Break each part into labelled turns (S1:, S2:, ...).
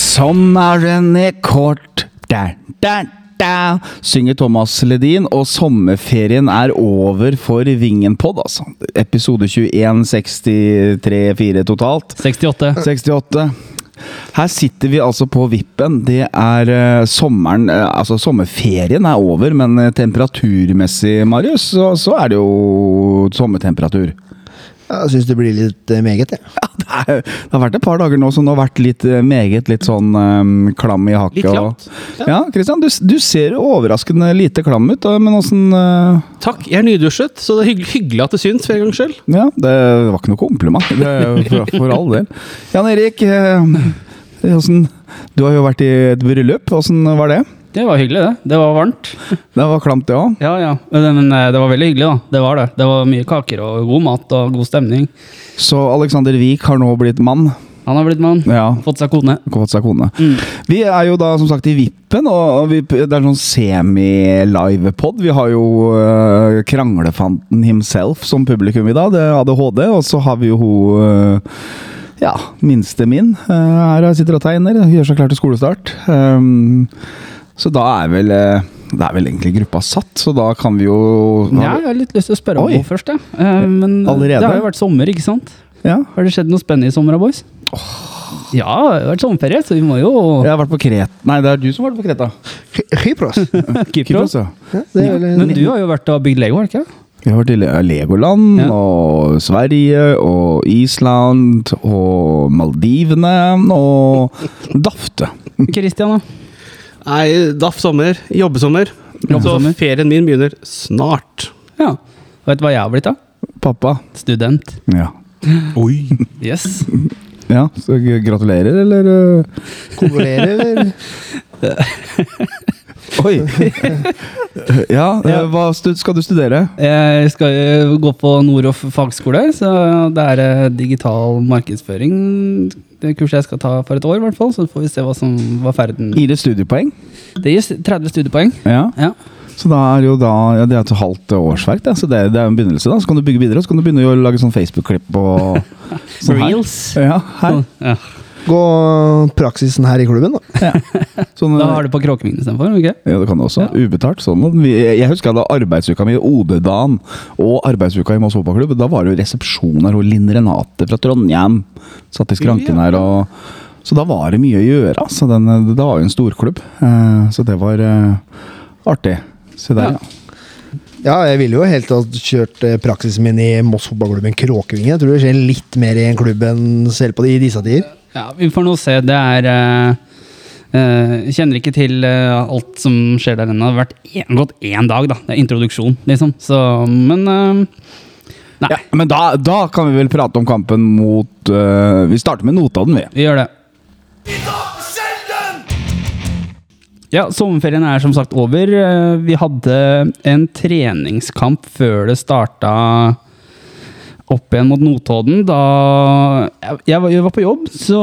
S1: Sommeren er kort, da, da, da, synger Thomas Ledin, og sommerferien er over for Vingenpod, altså. Episode 21, 63, 4 totalt.
S2: 68.
S1: 68. Her sitter vi altså på vippen. Det er eh, sommeren eh, Altså, sommerferien er over, men eh, temperaturmessig, Marius, så, så er det jo sommertemperatur.
S3: Jeg syns det blir litt eh, meget, jeg.
S1: Ja, det, er, det har vært et par dager nå som det har vært litt eh, meget litt sånn eh, klam i hakket.
S2: Litt klamt.
S1: Og, ja, Kristian, du, du ser overraskende lite klam ut, eh, men åssen eh,
S2: Takk, jeg er nydusjet, så det er hygg hyggelig at det syns for en gangs skyld.
S1: Ja, det var ikke noe kompliment, det, er for, for all del. Jan Erik, eh, åssen Du har jo vært i et bryllup, åssen var det?
S2: Det var hyggelig, det. Det var varmt.
S1: Det var klamt, det òg.
S2: Ja, ja. Men, men eh, det var veldig hyggelig, da. Det var det. Det var mye kaker og god mat og god stemning.
S1: Så Alexander Wiik har nå blitt mann.
S2: Han har blitt mann.
S1: Ja,
S2: Fått seg kone.
S1: fått seg kone.
S2: Mm.
S1: Vi er jo da som sagt i vippen, og vi, det er sånn semi-live-pod. Vi har jo øh, kranglefanten himself som publikum i dag, det er ADHD. Og så har vi jo hun øh, ja, minste min øh, her og sitter og tegner. Gjør seg klar til skolestart. Ehm, så da er vel øh, Det er vel egentlig gruppa satt, så da kan vi jo
S2: Ja, jeg har litt lyst til å spørre om
S1: Oi.
S2: henne først, jeg. Eh, Men
S1: Allerede?
S2: det har jo vært sommer, ikke sant?
S1: ja.
S2: Har det skjedd noe spennende i sommer, da, boys? Ja, det har vært sommerferie, så vi må jo
S1: Jeg har vært på Kret... Nei, det er du som har vært på Kreta.
S3: Ky- Kypros.
S2: Kypros.
S1: ja.
S3: Ja, det er vel-
S2: Men du har jo vært og bygd Lego, har du ikke?
S1: Vi har vært i Le- Legoland
S2: Ja.
S1: og Sverige og Island og Maldivene og Dafte.
S2: Kristian, da?
S4: Nei, daff sommer. Jobbesommer.
S2: Jobbesommer.
S4: Så ferien min begynner snart.
S2: Ja. Vet du hva jeg har blitt, da?
S1: Pappa.
S2: Student.
S1: Ja.
S4: Oi!
S2: Yes.
S1: ja så g- gratulerer, eller? øh?
S3: Kondolerer, eller?
S1: Oi! ja, øh, hva stud skal du studere?
S2: Jeg skal jo gå på Noroff fagskole, så det er eh, digital markedsføring. Det er kurset jeg skal ta for et år, i hvert fall, så får vi se hva som var ferden.
S1: Gir det studiepoeng?
S2: Det gir 30 studiepoeng.
S1: Ja.
S2: Ja.
S1: Så da er jo da ja, Det er et halvt årsverk, det. Så det, er- det er en begynnelse. da Så kan du bygge videre, og så kan du begynne å lage sånn Facebook-klipp og sånn her.
S2: Reels. Sånn.
S1: Ja, her.
S2: Ja.
S3: Gå praksisen her i klubben, da.
S1: Sånn,
S2: Da har du på Kråkevingen istedenfor. Okay?
S1: Ja, det kan du også. Ubetalt. sånn. Vi- Jeg husker jeg hadde arbeidsuka mi i Odedagen og arbeidsuka i Moss fotballklubb. Da var det jo resepsjon her, og Linn Renate fra Trondheim satt i skranken her. og... Så da var det mye å gjøre. Altså. Den, det var jo en storklubb, eh, så det var eh, artig. Se der,
S2: Ja.
S1: ja.
S3: Ja, jeg ville jo helt ha kjørt eh, praksisen min i Moss fotballklubben Kråkevinge. Jeg tror det skjer litt mer i en klubb enn selv på de i disse tider.
S2: Ja, vi får nå se. Det er eh, eh, Jeg kjenner ikke til eh, alt som skjer der ennå. Det har vært en, gått én dag, da. Det er introduksjon, liksom. Så, men eh, Nei,
S1: Ja, men da, da kan vi vel prate om kampen mot eh, Vi starter med Notodden, vi.
S2: vi gjør det. Ja, sommerferien er som sagt over. Eh, Vi hadde en treningskamp før det starta opp igjen mot Notodden. Da jeg, jeg var- jeg var på jobb, så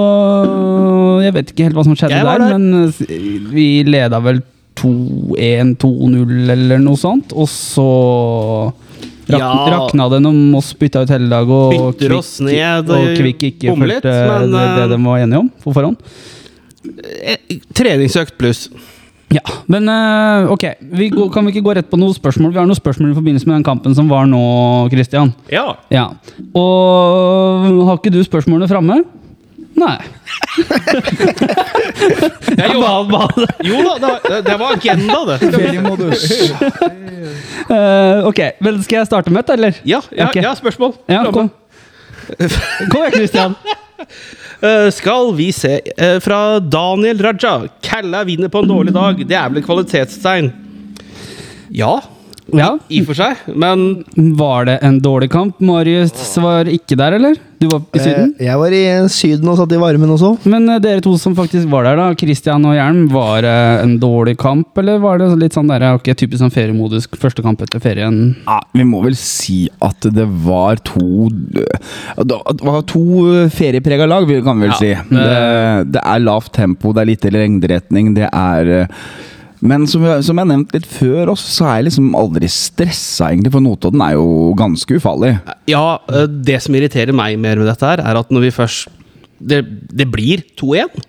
S2: jeg vet ikke helt hva som skjedde
S4: Jeg
S2: der,
S4: var der.
S2: Men eh, vi leda vel 2-1-2-0 eller noe sånt. Og så rak,
S4: Ja.
S2: rakna det når Moss bytta ut hele dag. Og
S4: Bytter
S2: Kvikk-
S4: oss ned,
S2: Og
S4: eh,
S2: Kvikk ikke
S4: bommer litt,
S2: fulgte
S4: men,
S2: det, det
S4: eh,
S2: de var enige om på forhånd.
S4: Eh, Treningsøkt pluss.
S2: Ja, men eh, ok. Vi går, kan vi ikke gå rett på noen spørsmål? Vi har noen spørsmål i forbindelse med den kampen som var nå, Christian.
S4: Ja.
S2: Ja. Og eh, har ikke du spørsmålene framme? Nei.
S4: Jeg
S2: Hva,
S4: jobba-
S2: hva?
S4: jo da, det var, det var agenda, det.
S2: Eh, ok, vel skal jeg starte med et, eller?
S4: Ja, ja,
S2: Ok.
S4: ja spørsmål.
S2: Ja,
S4: Framme.
S2: kom. Kom igjen, Christian.
S4: Eh, skal vi se eh, Fra Daniel Raja. Kalla vinner på en dårlig dag. Det er vel et kvalitetstegn? Ja,
S2: Ja.
S4: i og for seg, men
S2: Var det en dårlig kamp? Marius var ikke der, eller? Du var i Syden?
S3: Eh, Jeg var i Syden og satt i varmen også.
S2: Men eh, dere to som faktisk var der, da, Christian og Hjelm, var det en dårlig kamp? Eller var det litt sånn der, ok, typisk sånn feriemodus, første kamp etter ferien?
S1: Ja, vi må vel si at det var to eh, Det var to ferieprega lag, vi kan vel
S2: Ja,
S4: eh.
S1: si. Det, det er lavt tempo, det er lite lengderetning, det er eh, men som, jeg- som jeg har nevnt litt før også, så er jeg liksom aldri stressa, egentlig. For Notodden er jo ganske ufarlig.
S4: Ja, eh, det som irriterer meg mer med dette her, er at når vi først Det, det blir 2-1.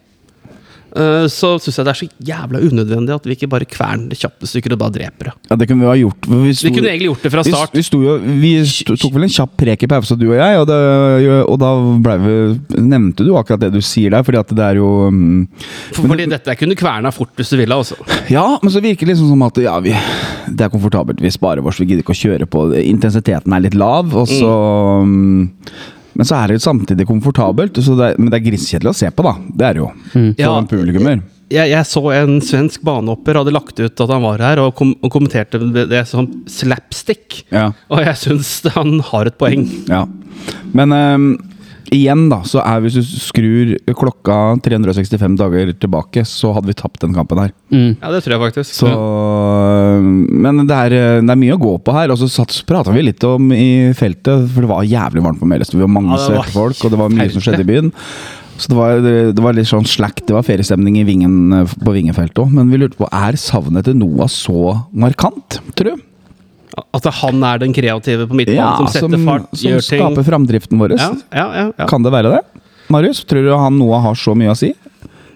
S4: eh, så syns jeg det er så jævla unødvendig at vi ikke bare kverner det kjappe stykker og bare dreper det.
S1: Ja, det kunne vi ha gjort. for Vi, sto,
S4: Vi kunne egentlig gjort det fra
S1: vi,
S4: start.
S1: vi, sto jo, vi sto, tok vel en kjapp prek i pause, du og jeg, og, det, og da ble vi, nevnte du akkurat det du sier der, fordi at det er jo mm,
S4: For, fordi dette kunne kverna fort hvis du ville, altså.
S1: Ja, men så virker det liksom som at ja, vi, det er komfortabelt, vi sparer oss, vi gidder ikke å kjøre på. det. Intensiteten er litt lav, og så mm, Men så er det jo samtidig komfortabelt, så det er, men det er grisekjedelig å se på, da. Det er det jo. For
S4: Ja.
S1: en publikummer.
S4: Jeg, jeg så en svensk banehopper hadde lagt ut at han var her, og, kom, og kommenterte det, det som slapstick.
S1: Ja.
S4: Og jeg syns han har et poeng.
S1: ja. Men ehm, igjen, da, så er hvis du skrur klokka 365 dager tilbake, så hadde vi tapt den kampen her.
S2: Mm.
S4: Ja, det tror jeg faktisk.
S1: Så, eh, men det er, eh, det er mye å gå på her. Og så prata vi litt om i feltet, for det var jævlig varmt på Meløysten. Vi var mange
S4: Ja, det var
S1: svette folk, og det var mye som skjedde i byen. Så det var, det, det var litt sånn slack, det var feriestemning i vingen, eh, på Vingefeltet òg. Men vi lurte på, er savnet til Noah så markant, tror du?
S4: At han er den kreative på midtbanen som setter fart,
S1: som
S4: gjør ting.
S1: skaper framdriften vår.
S4: Ja, ja, ja, ja.
S1: Kan det være det? Marius, tror du han Noah har så mye å si?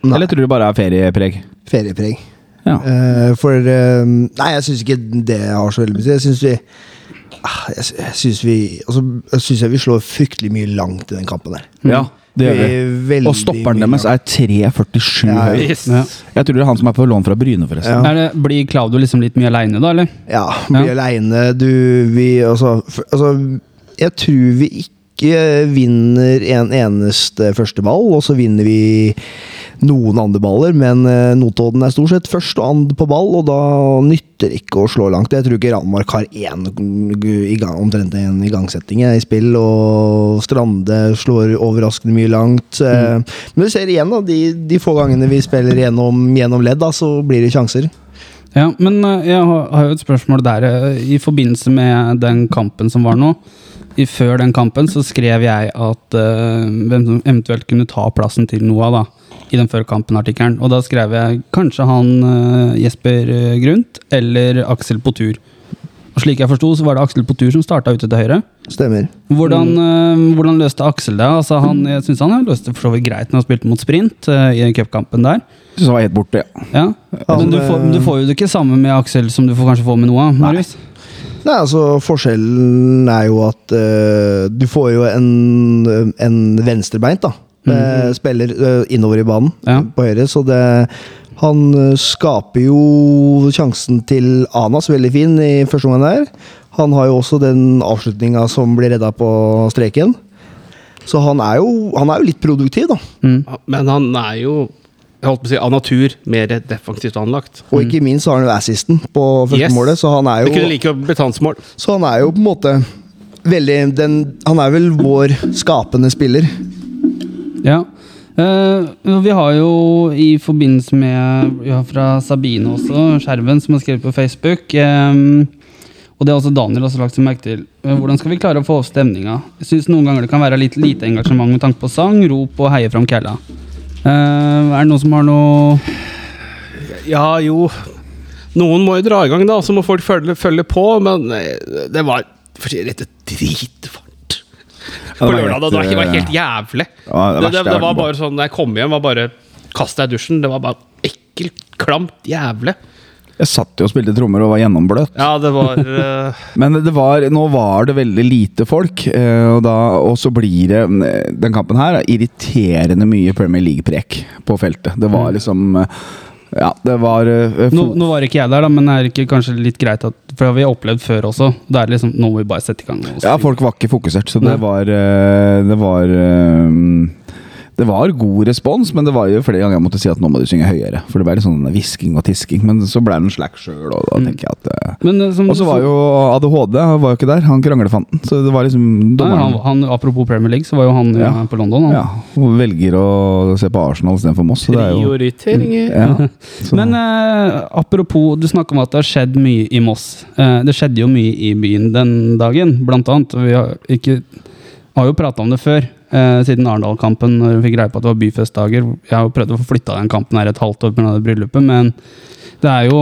S3: Nei.
S1: Eller tror du bare er feriepreg?
S3: Feriepreg.
S1: Ja.
S3: Eh, for eh, Nei, jeg syns ikke det har så veldig mye å si. Jeg syns vi Ah, Jeg sy- jeg syns vi altså, Jeg synes jeg vi slår fryktelig mye langt i den kampen der.
S1: ja, det gjør vi.
S3: Mm. Veldig
S1: Og stopperen
S3: mye
S1: deres
S3: langt.
S1: er 3,47
S3: Ja,
S1: høy.
S4: Yes.
S2: Ja.
S1: Jeg tror det er han som er på lån fra Bryne, forresten.
S2: Er det, blir Claudio liksom litt mye aleine, da, eller?
S3: Ja, blir
S2: Ja.
S3: aleine. Du, vi altså, f- altså Jeg tror vi ikke vinner en eneste første ball, og så vinner vi noen andre baller, men eh, Notodden er stort sett først og and på ball, og da nytter det ikke å slå langt. Jeg tror ikke Ranmark har én i gang, omtrent en igangsetting eh, i spill, og Strande slår overraskende mye langt. eh, Men du ser igjen, da, de, de få gangene vi spiller gjennom, gjennom ledd, da, så blir det sjanser.
S2: Ja, men eh, jeg har har jo et spørsmål der. eh, I forbindelse med den kampen som var nå, i før den kampen, så skrev jeg at eh, hvem som eventuelt kunne ta plassen til Noah, da. I den før kampen-artikkelen. Og da skrev jeg kanskje han eh, Jesper eh, Grundt eller Aksel på tur. Og slik jeg forsto, så var det Aksel på tur som starta ute til høyre.
S3: Stemmer.
S2: Hvordan, eh, hvordan løste Aksel det? Altså, han, jeg syns han løste det for så vidt greit når han spilte mot sprint eh, i cupkampen der.
S1: Så var jeg helt borte, ja.
S2: Ja,
S3: Han,
S2: men du får,
S1: eh,
S2: men du får jo det ikke samme med Aksel som du får kanskje får med Noah. Marius.
S3: Nei, altså Forskjellen er jo at eh, du får jo en, en venstrebeint, da.
S4: Mhm.
S3: Eh, spiller eh, innover i banen
S2: Ja.
S3: på høyre, så det Han eh, skaper jo sjansen til Anas, veldig fin i første omgang der. Han har jo også den avslutninga som blir redda på streken. Så han er jo, han er jo litt produktiv, da.
S4: Men han er jo jeg holdt på å si, av natur mer defensivt anlagt.
S3: Og ikke minst så har han jo assisten på første
S4: Mhm. Yes.
S3: målet, så han er
S4: Det
S3: jo
S4: kunne like godt blitt hans mål.
S3: Så han er jo på en måte veldig den, Han er vel vår skapende spiller.
S2: Ja. Eh, vi har jo i forbindelse med vi har fra Sabine også, Skjerven, som har skrevet på Facebook eh, Og det har også Daniel også lagt seg merke til. Eh, hvordan skal vi klare å få opp stemninga? Jeg syns noen ganger det kan være litt lite engasjement med tanke på sang, rop og heie fram kælla. Eh, er det noen som har noe
S4: Ja, jo Noen må jo dra i gang, da, så må folk følge, følge på, men eh, det var for å si det rett dritvarmt. På
S1: var
S4: lørdag, da. Det var,
S1: helt,
S4: det var
S1: eh,
S4: helt jævlig.
S1: Ja, det
S4: det, det,
S1: verste jeg
S4: det
S1: har
S4: var
S1: vært
S4: bare sånn, da jeg kom hjem, var bare Kast deg i dusjen. Det var bare ekkelt, klamt, jævlig.
S1: Jeg satt jo og spilte trommer og var gjennombløt.
S4: Ja, det var eh,
S1: Men det var, nå var det veldig lite folk, eh, og, da, og så blir det eh, Den kampen her er irriterende mye Premier League-prek på feltet. Det
S3: Mm.
S1: var liksom eh, Ja, det var eh,
S2: Nå,
S1: fo-
S2: nå var ikke jeg der, da, men det er ikke kanskje litt greit at For det har vi opplevd før også. Da er det liksom Nå må vi bare sette i gang. og så-
S1: Ja, folk var ikke fokusert, så
S2: Nei.
S1: det var eh, Det var eh, det var god respons, men det var jo flere ganger jeg måtte si at nå må du synge høyere. For det ble litt sånn hvisking og tisking, men så ble det en slack sjøl, og
S2: Mm.
S1: da tenker jeg at eh,
S2: Men eh, som
S1: Og så var jo ADHD han var jo ikke der, han kranglefanten. Så det var liksom
S2: Nei, han,
S1: dommeren.
S2: han, Apropos Premier League, så var jo han ja.
S1: Ja.
S2: på London. Han.
S1: Ja, og velger å se på Arsenal istedenfor Moss. Så det er jo
S4: prioriteringer.
S1: ja, sånn- så,
S2: Men eh, apropos, du snakka om at det har skjedd mye i Moss. Eh, det skjedde jo mye i byen den dagen, blant annet. Vi har, ikke, har jo prata om det før, eh, siden Arendal-kampen, når vi fikk greie på at det var byfestdager. Jeg har jo prøvd å få flytta den kampen her et halvt år pga. bryllupet, men det er jo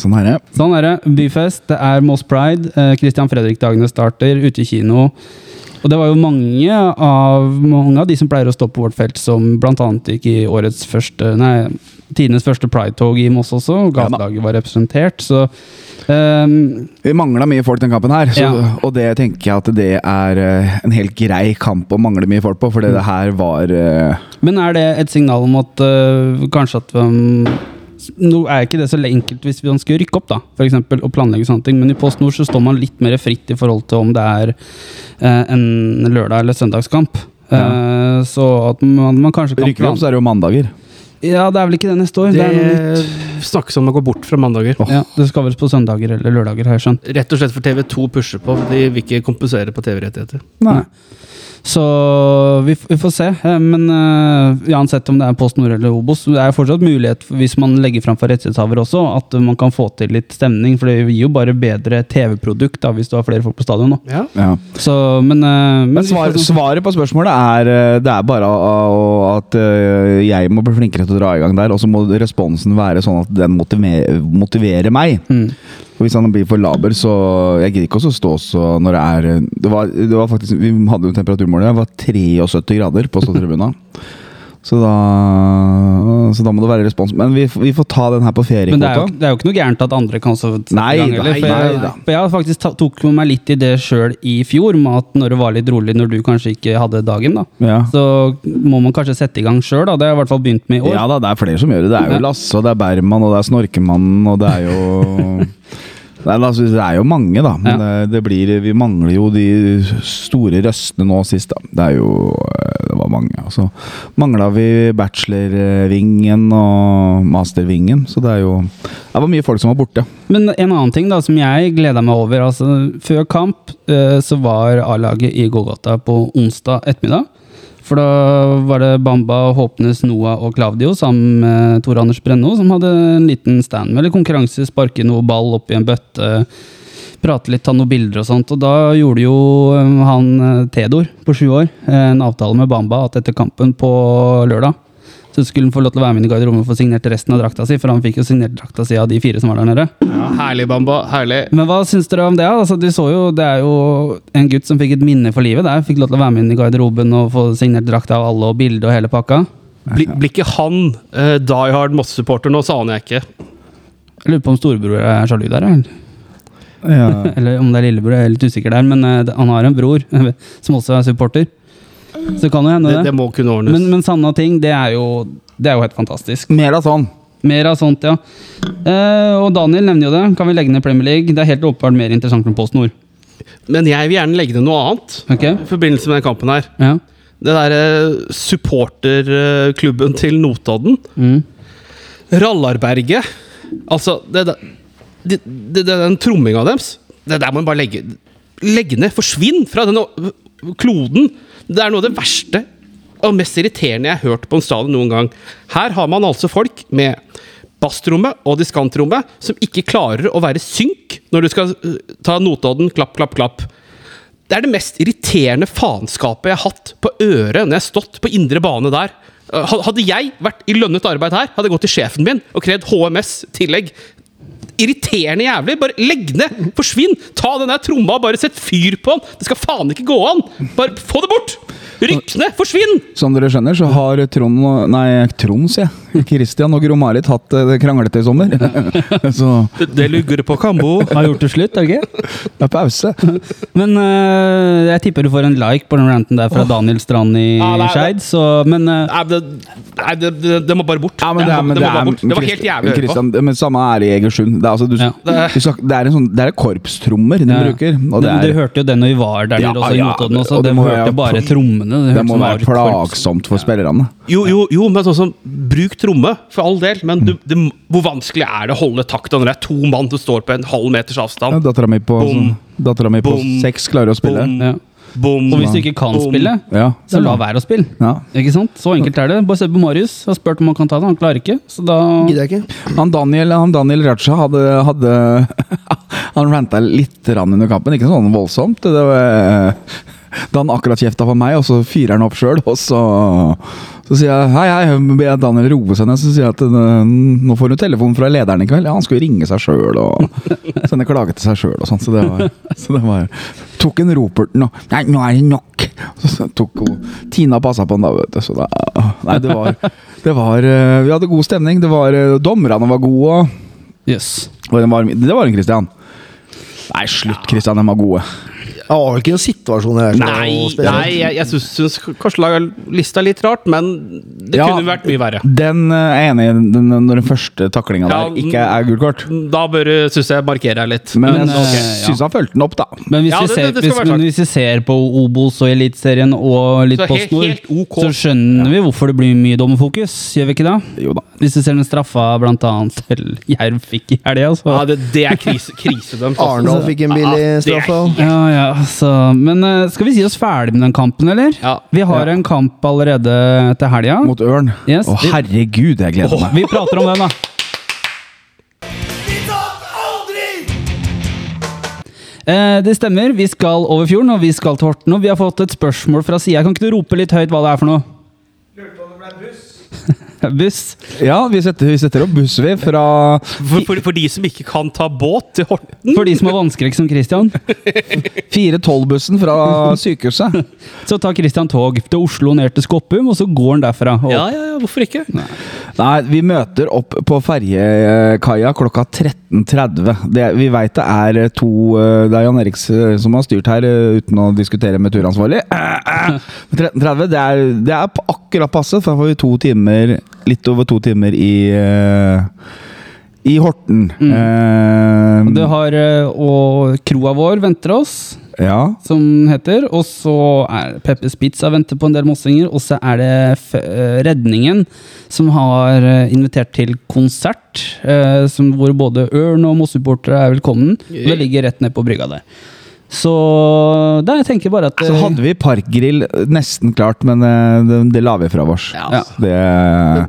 S1: sånn her er det.
S2: Sånn er det. Byfest, det er Moss Pride. Eh, Christian Fredrik-dagene starter, ute i kino. Og det var jo mange av, mange av de som pleier å stå på vårt felt, som bl.a. gikk i årets første Nei, tidenes første Pride-tog i Moss også. og
S1: Ja da.
S2: Gatelaget var representert, så ehm,
S1: Vi mangla mye folk den kampen her, så,
S2: Ja.
S1: og det tenker jeg at det er eh, en helt grei kamp å mangle mye folk på, for
S2: Mm.
S1: det her var eh,
S2: Men er det et signal om at øh, kanskje at um, Nå er ikke det så enkelt hvis man skulle rykke opp, da, for eksempel, og planlegge sånne ting, men i Post Nord så står man litt mer fritt i forhold til om det er eh, en lørdag- eller søndagskamp. Eh, så at man, man kanskje kan
S1: Rykker vi opp,
S2: plan-
S1: så er det jo mandager.
S2: Ja, det er vel ikke det neste år. Det, er noe
S4: Det snakkes om å gå bort fra mandager.
S2: nytt. Ja, det skal vel på søndager eller lørdager, har jeg skjønt.
S4: Rett og slett for TV2 pusher på. for De vil ikke kompensere på TV-rettigheter.
S2: Nei.
S1: Mm.
S2: Så vi, f- vi får se. eh, Men eh, uansett om det er Post Nord eller Obos, det er fortsatt mulighet, for- hvis man legger fram for rettighetshaver også, at man kan få til litt stemning. For det gir jo bare bedre TV-produkt da, hvis du har flere folk på stadion. nå.
S4: Ja.
S1: Ja.
S2: Så, men eh, men
S1: Men svar, svaret på spørsmålet er eh, det er bare å- å- at eh, jeg må bli flinkere til å dra i gang der, og så må responsen være sånn at den motiver, motiverer meg.
S2: Mm.
S1: Og hvis han blir for laber, så Jeg gidder ikke også å stå så når det er eh, Det var, det var faktisk Vi hadde jo temperaturmålet. Det var 73 grader på ståtribunen. Så da, så da må det være respons. Men vi, f- vi får ta den her på
S2: Men det er, jo,
S1: feriekvota.
S2: det er jo ikke noe gærent at andre kan så sette i
S1: Nei
S2: gang,
S1: da,
S2: heller, for
S1: nei
S2: jeg,
S1: da.
S2: For jeg faktisk ta, tok med meg litt i det sjøl i fjor, med at når det var litt rolig, når du kanskje ikke hadde dagen, da,
S1: Ja.
S2: så må man kanskje sette i gang sjøl. Det har jeg i hvert fall begynt med i år.
S1: ja da, det er flere som gjør det. Det er
S2: Ja.
S1: jo Lasse, og det er Berman, og det er Snorkemannen, og det er jo Nei, altså, det er jo mange, da. Men eh, det, det blir, vi mangler jo de store røstene nå sist, da. Det er jo eh, Det var mange. Og så mangla vi bachelorvingen og mastervingen, så det er jo Det var mye folk som var borte.
S2: Men en annen ting da, som jeg gleda meg over altså, Før kamp eh, så var A-laget i Golgata på onsdag ettermiddag. For da var det Bamba, Håpnes, Noah og Klavdio sammen med Tor Anders Brenno som hadde en liten stand med eller konkurranse, sparke noe ball opp i en bøtte, prate litt, ta noen bilder og sånt. Og da gjorde jo eh, han eh, Tedor på sju år eh, en avtale med Bamba at etter kampen på lørdag så skulle han få lov til å være med inn i garderoben og få signert resten av drakta si, for han fikk jo signert drakta si av de fire som var der nede.
S4: Herlig, Bamba. Herlig.
S2: Men hva syns dere om det? Altså, du så jo, det er jo en gutt som fikk et minne for livet. der, Fikk lov til å være med inn i garderoben og få signert drakta av alle og bilde og hele pakka.
S4: Bli- Blir ikke han eh, Die Hard Moss-supporter nå, så aner jeg ikke.
S2: Jeg lurer på om storebror er sjalu der, eller? eller om det er lillebror. Jeg er litt usikker der, men eh, det- han har en bror eh, som også er supporter. Så det kan jo hende
S4: Det,
S2: det.
S4: det må kunne ordnes.
S2: Men, men sanne ting, det er, jo, det er jo helt fantastisk.
S1: Mer av sånn.
S2: Mer av sånt, ja. Eh, og Daniel nevner jo det. Kan vi legge ned Premier League? Det er helt åpenbart mer interessant enn PostNord.
S4: Men jeg vil gjerne legge ned noe annet
S2: Ok?
S4: i forbindelse med den kampen her.
S2: Ja.
S4: Det derre supporterklubben til Notodden.
S2: Mm.
S4: Rallarberget. Altså, det, det, det, det, den tromminga deres Det der må en bare legge, legge ned. Forsvinn fra den o- kloden! Det er noe av det verste og mest irriterende jeg har hørt på en stadion noen gang. Her har man altså folk med basstrommet og diskantrommet som ikke klarer å være synk når du skal øh, ta Notodden klapp, klapp, klapp. Det er det mest irriterende faenskapet jeg har hatt på øret når jeg har stått på indre bane der. Eh, had- Hadde jeg vært i lønnet arbeid her, hadde jeg gått til sjefen min og krevd HMS-tillegg. Irriterende jævlig! Bare legg ned! Forsvinn! Ta den der tromma og bare sett fyr på den! Det skal faen ikke gå an! Bare få det bort! Rykk ned! Forsvinn!
S1: Som dere skjønner, så har Trond og Nei, Trond, sier jeg. Christian og Gromarit hatt eh, det kranglete i sommer. så
S4: Det, lugger på kambo.
S2: Har gjort det slutt, er det ikke?
S1: det er pause.
S2: Men øh, jeg tipper du får en like på den ranten der fra Daniel Strand i
S4: Ja, det er-
S2: Skeid. så- Men øh,
S4: Nei, det, nei det, det, det må bare bort.
S1: Ja, men det, er, men
S4: det,
S1: det,
S4: må bare
S1: er,
S4: bort. det var helt jævlig å høre på.
S1: Christian, men samme er i Egersund. Det er, altså, du,
S2: Ja.
S1: du skal, det er en sånn Det er korpstrommer de
S2: Ja, ja.
S1: bruker.
S2: men
S1: Og det
S2: du
S1: er,
S2: hørte jo det når vi var der
S1: Ja,
S2: nede også, i
S1: ja,
S2: Notodden også.
S1: og
S2: Det
S1: det må
S2: hørte
S1: være-
S2: bare trommene.
S1: det
S2: Det, hørtes
S1: må
S2: som
S1: være
S2: det var et korps.
S1: plagsomt for spillerne.
S4: Jo, jo, jo, men sånn som Bruk tromme, for all del. Men du,
S2: Mm.
S4: det, hvor vanskelig er det å holde takta når det er to mann som står på en halv meters
S1: Ja,
S4: avstand?
S1: Dattera mi på, sånn-
S4: Bom.
S1: dattera mi på
S4: Bom.
S1: seks klarer å spille.
S4: Bom.
S2: Ja.
S4: Bom,
S2: Og hvis du ikke kan
S4: bom.
S2: spille,
S1: Ja.
S2: så la være å spille.
S1: Ja.
S2: Ikke sant? Så enkelt er det. Bare se på Marius. Jeg har spurt om han kan ta det, han klarer ikke. Så da
S3: Gidder jeg ikke.
S1: Han Daniel, han Daniel Raja hadde, hadde Han ranta litt rann under kampen, ikke sånn voldsomt. Det var, eh, da han akkurat kjefta på meg, og så fyrer han opp sjøl, og så Så sier jeg hei, hei, ber jeg Daniel roe seg ned, så sier jeg at eh, nå får du telefon fra lederen i kveld. Ja, han skulle ringe seg sjøl og sende klage til seg sjøl og sånn, så det var Så det var Tok en roperten og Nei, nå er det nok! Så tok hun Tina passa på den da, vet du. Så da Nei, det var, det var eh, Vi hadde god stemning. Det var eh, Dommerne var gode.
S2: Jøss.
S1: Og den var, det var en Christian. Nei, slutt, Christian. De var gode.
S3: Det var vel ikke noen situasjon her. som
S4: Nei,
S3: var spesielt.
S4: nei jeg, jeg syns, syns kanskje laga lista litt rart, men det
S1: Ja.
S4: kunne vært mye verre.
S1: Den eh, er jeg enig i den, når den første taklinga
S4: Ja,
S1: der ikke er gult kort.
S4: Da bør du, syns jeg, markere deg litt.
S1: Men
S2: Men,
S1: jeg
S2: ok, ja.
S1: syns han fulgte den opp, da.
S2: Men hvis,
S4: Ja,
S2: vi
S4: det-
S2: ser,
S4: det- det skal
S2: hvis,
S4: være
S2: men
S4: sagt.
S2: hvis vi ser på Obos og Eliteserien og litt
S4: Så
S2: på
S4: helt-
S2: snor,
S4: helt ok.
S2: så skjønner vi hvorfor det blir mye dommerfokus, gjør vi ikke det?
S1: Jo da.
S2: Hvis vi ser den straffa blant annet til Jerv fikk i helga, så
S4: Ja, det, det er krise, krisedømt. altså.
S3: Arendal fikk en billig
S4: Ja, det er
S3: straff. da.
S2: Ja, ja, så Men eh, skal vi si oss ferdig med den kampen, eller?
S4: Ja.
S2: Vi har en kamp allerede til helga.
S1: Mot Ørn.
S2: Yes.
S1: Å, herregud, jeg gleder meg.
S2: Vi prater om den, da.
S5: Vi tatt aldri!
S2: Eh, det stemmer. Vi skal over fjorden, og vi skal til Horten. Og vi har fått et spørsmål fra sida. Kan ikke du rope litt høyt hva det er for noe? Lurte på om det ble buss. buss.
S1: Ja, vi setter, vi setter opp buss, vi, fra
S4: For, for, for de som ikke kan ta båt til Horten
S2: For de som er vanskeligst som Christian,
S1: 412-bussen fra sykehuset.
S2: så tar Christian tog til Oslo ned til Skoppum, og så går han derfra. Og,
S4: Ja, ja, ja, hvorfor ikke?
S1: Nei, vi møter opp på ferjekaia klokka 13.30. Det, vi veit det er to eh, Det er Jan Eriks eh, som har styrt her, eh, uten å diskutere med turansvarlig. Eh, eh. 13.30, det er, det er på akkurat passe, for da får vi to timer Litt over to timer i eh, I Horten. Eh,
S2: og det har, eh, og kroa vår venter oss,
S1: ja.
S2: som den heter. Og så er Peppers Pizza venter på en del mossinger. Og så er det f eh, Redningen som har eh, invitert til konsert, eh, som, hvor både Ørn og Moss-supportere er velkommen. Og det ligger rett ned på brygga der. Så der, jeg tenker bare at
S1: Så hadde vi parkgrill eh, nesten klart, men eh, det, det la vi fra oss.
S4: Ja,
S2: Ja.
S4: altså.
S1: Det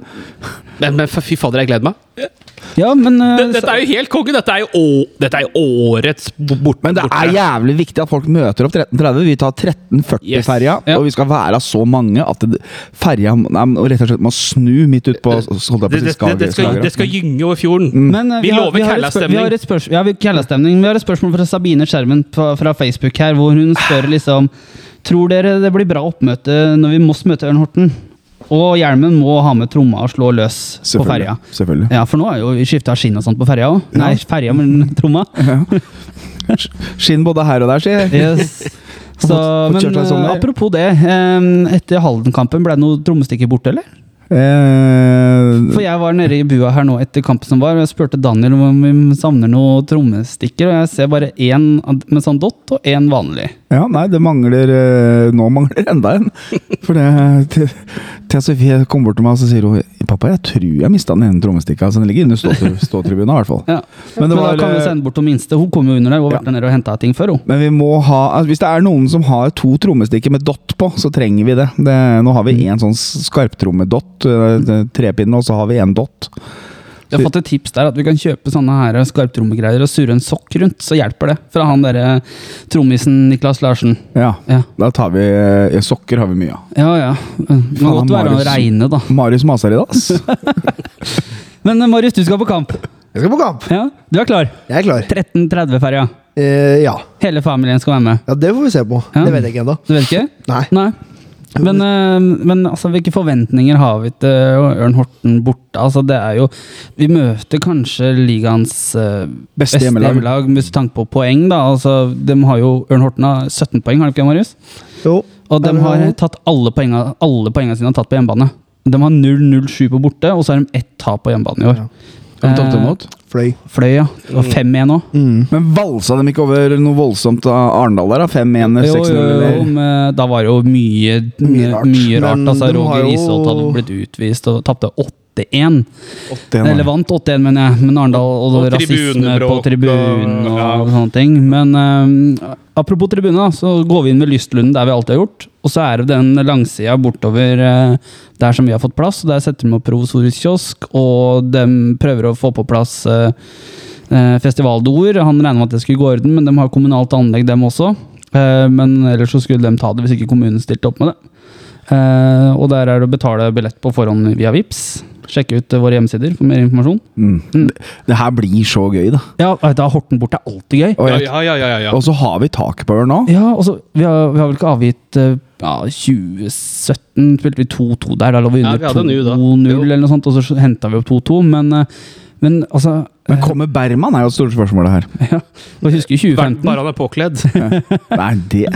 S4: Men, men fy fader, jeg gleder meg.
S2: Ja, men eh,
S4: Dette, dette er jo helt konge! Dette er jo, å, dette er jo årets bo- bort...
S1: Men det er
S4: borte.
S1: jævlig viktig at folk møter opp 13.30. Vi tar 13.40-ferja,
S2: Yes. Ja.
S1: og vi skal være så mange at det- ferja må- nei, men rett og slett må snu midt ut på holdt jeg på
S4: det,
S1: å si,
S4: det, det, det, skal,
S1: Skagerrak.
S4: det skal gynge over
S1: Mm.
S4: fjorden.
S2: Men, eh,
S4: Vi
S2: har-
S4: lover
S2: har et spør- Vi har
S4: kællastemning.
S2: et spørs- ja, vi kællastemning. Vi har et spørsmål fra Sabine Skjermen fra, fra Facebook her, hvor hun spør liksom Tror dere det blir bra oppmøte når vi Moss møter Ørn Horten? Og hjelmen må ha med tromma og slå løs på
S1: Selvfølgelig,
S2: ferja.
S1: Selvfølgelig.
S2: Ja, for nå er jo vi skifta skinn og sånt på ferja òg. Nei, ferja, men tromma.
S1: Skinn både her og der, sier jeg.
S2: Yes. Så,
S1: Fått- fått
S2: men
S1: kjørt deg sånn
S2: eh,
S1: der.
S2: apropos det. eh, Etter Halden-kampen, ble det noe trommestikker borte, eller?
S1: Eh,
S2: For jeg var nede i bua her nå etter kampen som var, og jeg spurte Daniel om vi savner noen trommestikker, og jeg ser bare én med sånn dott og én vanlig.
S1: ja, nei, det mangler eh, Nå mangler enda en. For det til- Thea Sofie kom bort til meg og så sier hun Pappa, jeg tror jeg mista den ene trommestikka. Så den ligger inne i ståtri- ståtribunen, i hvert fall.
S2: Ja.
S1: Men
S2: Men,
S1: det var,
S2: da kan vi
S1: eh,
S2: sende bort den minste. Hun kom jo under der, hun har
S1: Ja.
S2: vært der nede og henta ting før, hun.
S1: Men vi må ha altså Hvis det er noen som har to trommestikker med dott på, så trenger vi det. det nå har vi én sånn skarptrommedott, eh, det- trepinne, og så har vi én dott.
S2: Jeg har fått et tips der at vi kan kjøpe sånne her skarptrommegreier og surre en sokk rundt, så hjelper det. Fra han derre trommisen Niklas Larsen.
S1: Ja.
S2: Ja,
S1: Da tar vi eh, Sokker har vi mye av.
S2: ja. ja. Det må
S1: Faen,
S2: godt være å
S1: Marius.
S2: regne, da.
S1: Marius maser i dag, ass.
S2: Men eh, Marius, du skal på kamp.
S3: Jeg skal på kamp.
S2: Ja, Du er klar?
S3: Jeg er klar.
S2: 13.30-ferja.
S3: Eh, ja.
S2: Hele familien skal være med.
S3: ja, det får vi se på.
S2: Ja.
S3: Det vet jeg ikke ennå.
S2: Du vet ikke?
S3: Nei.
S2: Nei. Men, eh, men altså, hvilke forventninger har vi til eh, Ørn Horten borte? Altså, det er jo, vi møter kanskje ligaens eh,
S1: Beste
S2: beste
S1: hjemmelag.
S2: hjemmelag med tanke på poeng. Da. Altså, de har jo, Ørn Horten har 17 poeng, har de ikke det, Marius?
S3: Jo.
S2: Og de
S3: Er det
S2: har
S3: noe?
S2: tatt alle poengene, alle poengene sine har tatt på hjemmebane. De har 0-0-7 på borte, og så har de ett tap på hjemmebane i år. Eh,
S1: Har vi tapt imot?
S3: Fløy. Mm.
S2: Fløy, ja. Det var 5-1 nå.
S1: Men valsa dem ikke over noe voldsomt av Arendal der? da? 5-1,
S2: Jo,
S1: 6-0
S2: jo, jo,
S1: eller
S2: men da var det jo mye, mye
S3: Mye
S2: rart.
S3: rart. Men
S2: altså,
S3: de har
S2: Roger
S3: jo-
S2: Isholt hadde blitt utvist og tapte 8-1.
S1: 8-1?
S2: Eller
S1: da.
S2: vant 8-1, mener jeg. Men Arendal og,
S4: Og
S2: rasisme på
S4: tribunebråk,
S2: tribunen og,
S4: og- ja.
S2: sånne ting. Men eh, apropos tribune, da, så går vi inn med Lystlunden, der vi alltid har gjort. Og så er det den langsida bortover eh, der som vi har fått plass. og Der setter de opp provisorisk kiosk, og de prøver å få på plass eh, eh, festivaldoer. Han regner med at det skulle gå i orden, men de har kommunalt anlegg, dem også. Eh, men ellers så skulle de ta det hvis ikke kommunen stilte opp med det. Eh, og der er det å betale billett på forhånd via VIPS Sjekke ut eh, våre hjemmesider for mer informasjon.
S1: Mm.
S2: Mm.
S1: Det her blir så gøy, da.
S2: Ja, eh, da Horten bort er alltid gøy.
S1: Og,
S4: Ja,
S1: jeg,
S4: ja, ja, ja, ja, ja.
S1: og så har vi taket på den nå.
S2: Ja, altså, vi har, vi har vel ikke avgitt eh, ja, 2017 spilte vi 2-2 der. Da lå vi
S4: Ja,
S2: under
S4: vi hadde en U da.
S2: 2-0
S4: Jo.
S2: eller noe sånt, og så henta vi opp 2-2. Men, eh, men altså
S1: Men kommer Berman, er jo et stort spørsmål, det her.
S2: ja, Jeg husker
S4: Bare
S2: 2015.
S4: bare han er påkledd.
S1: Nei, det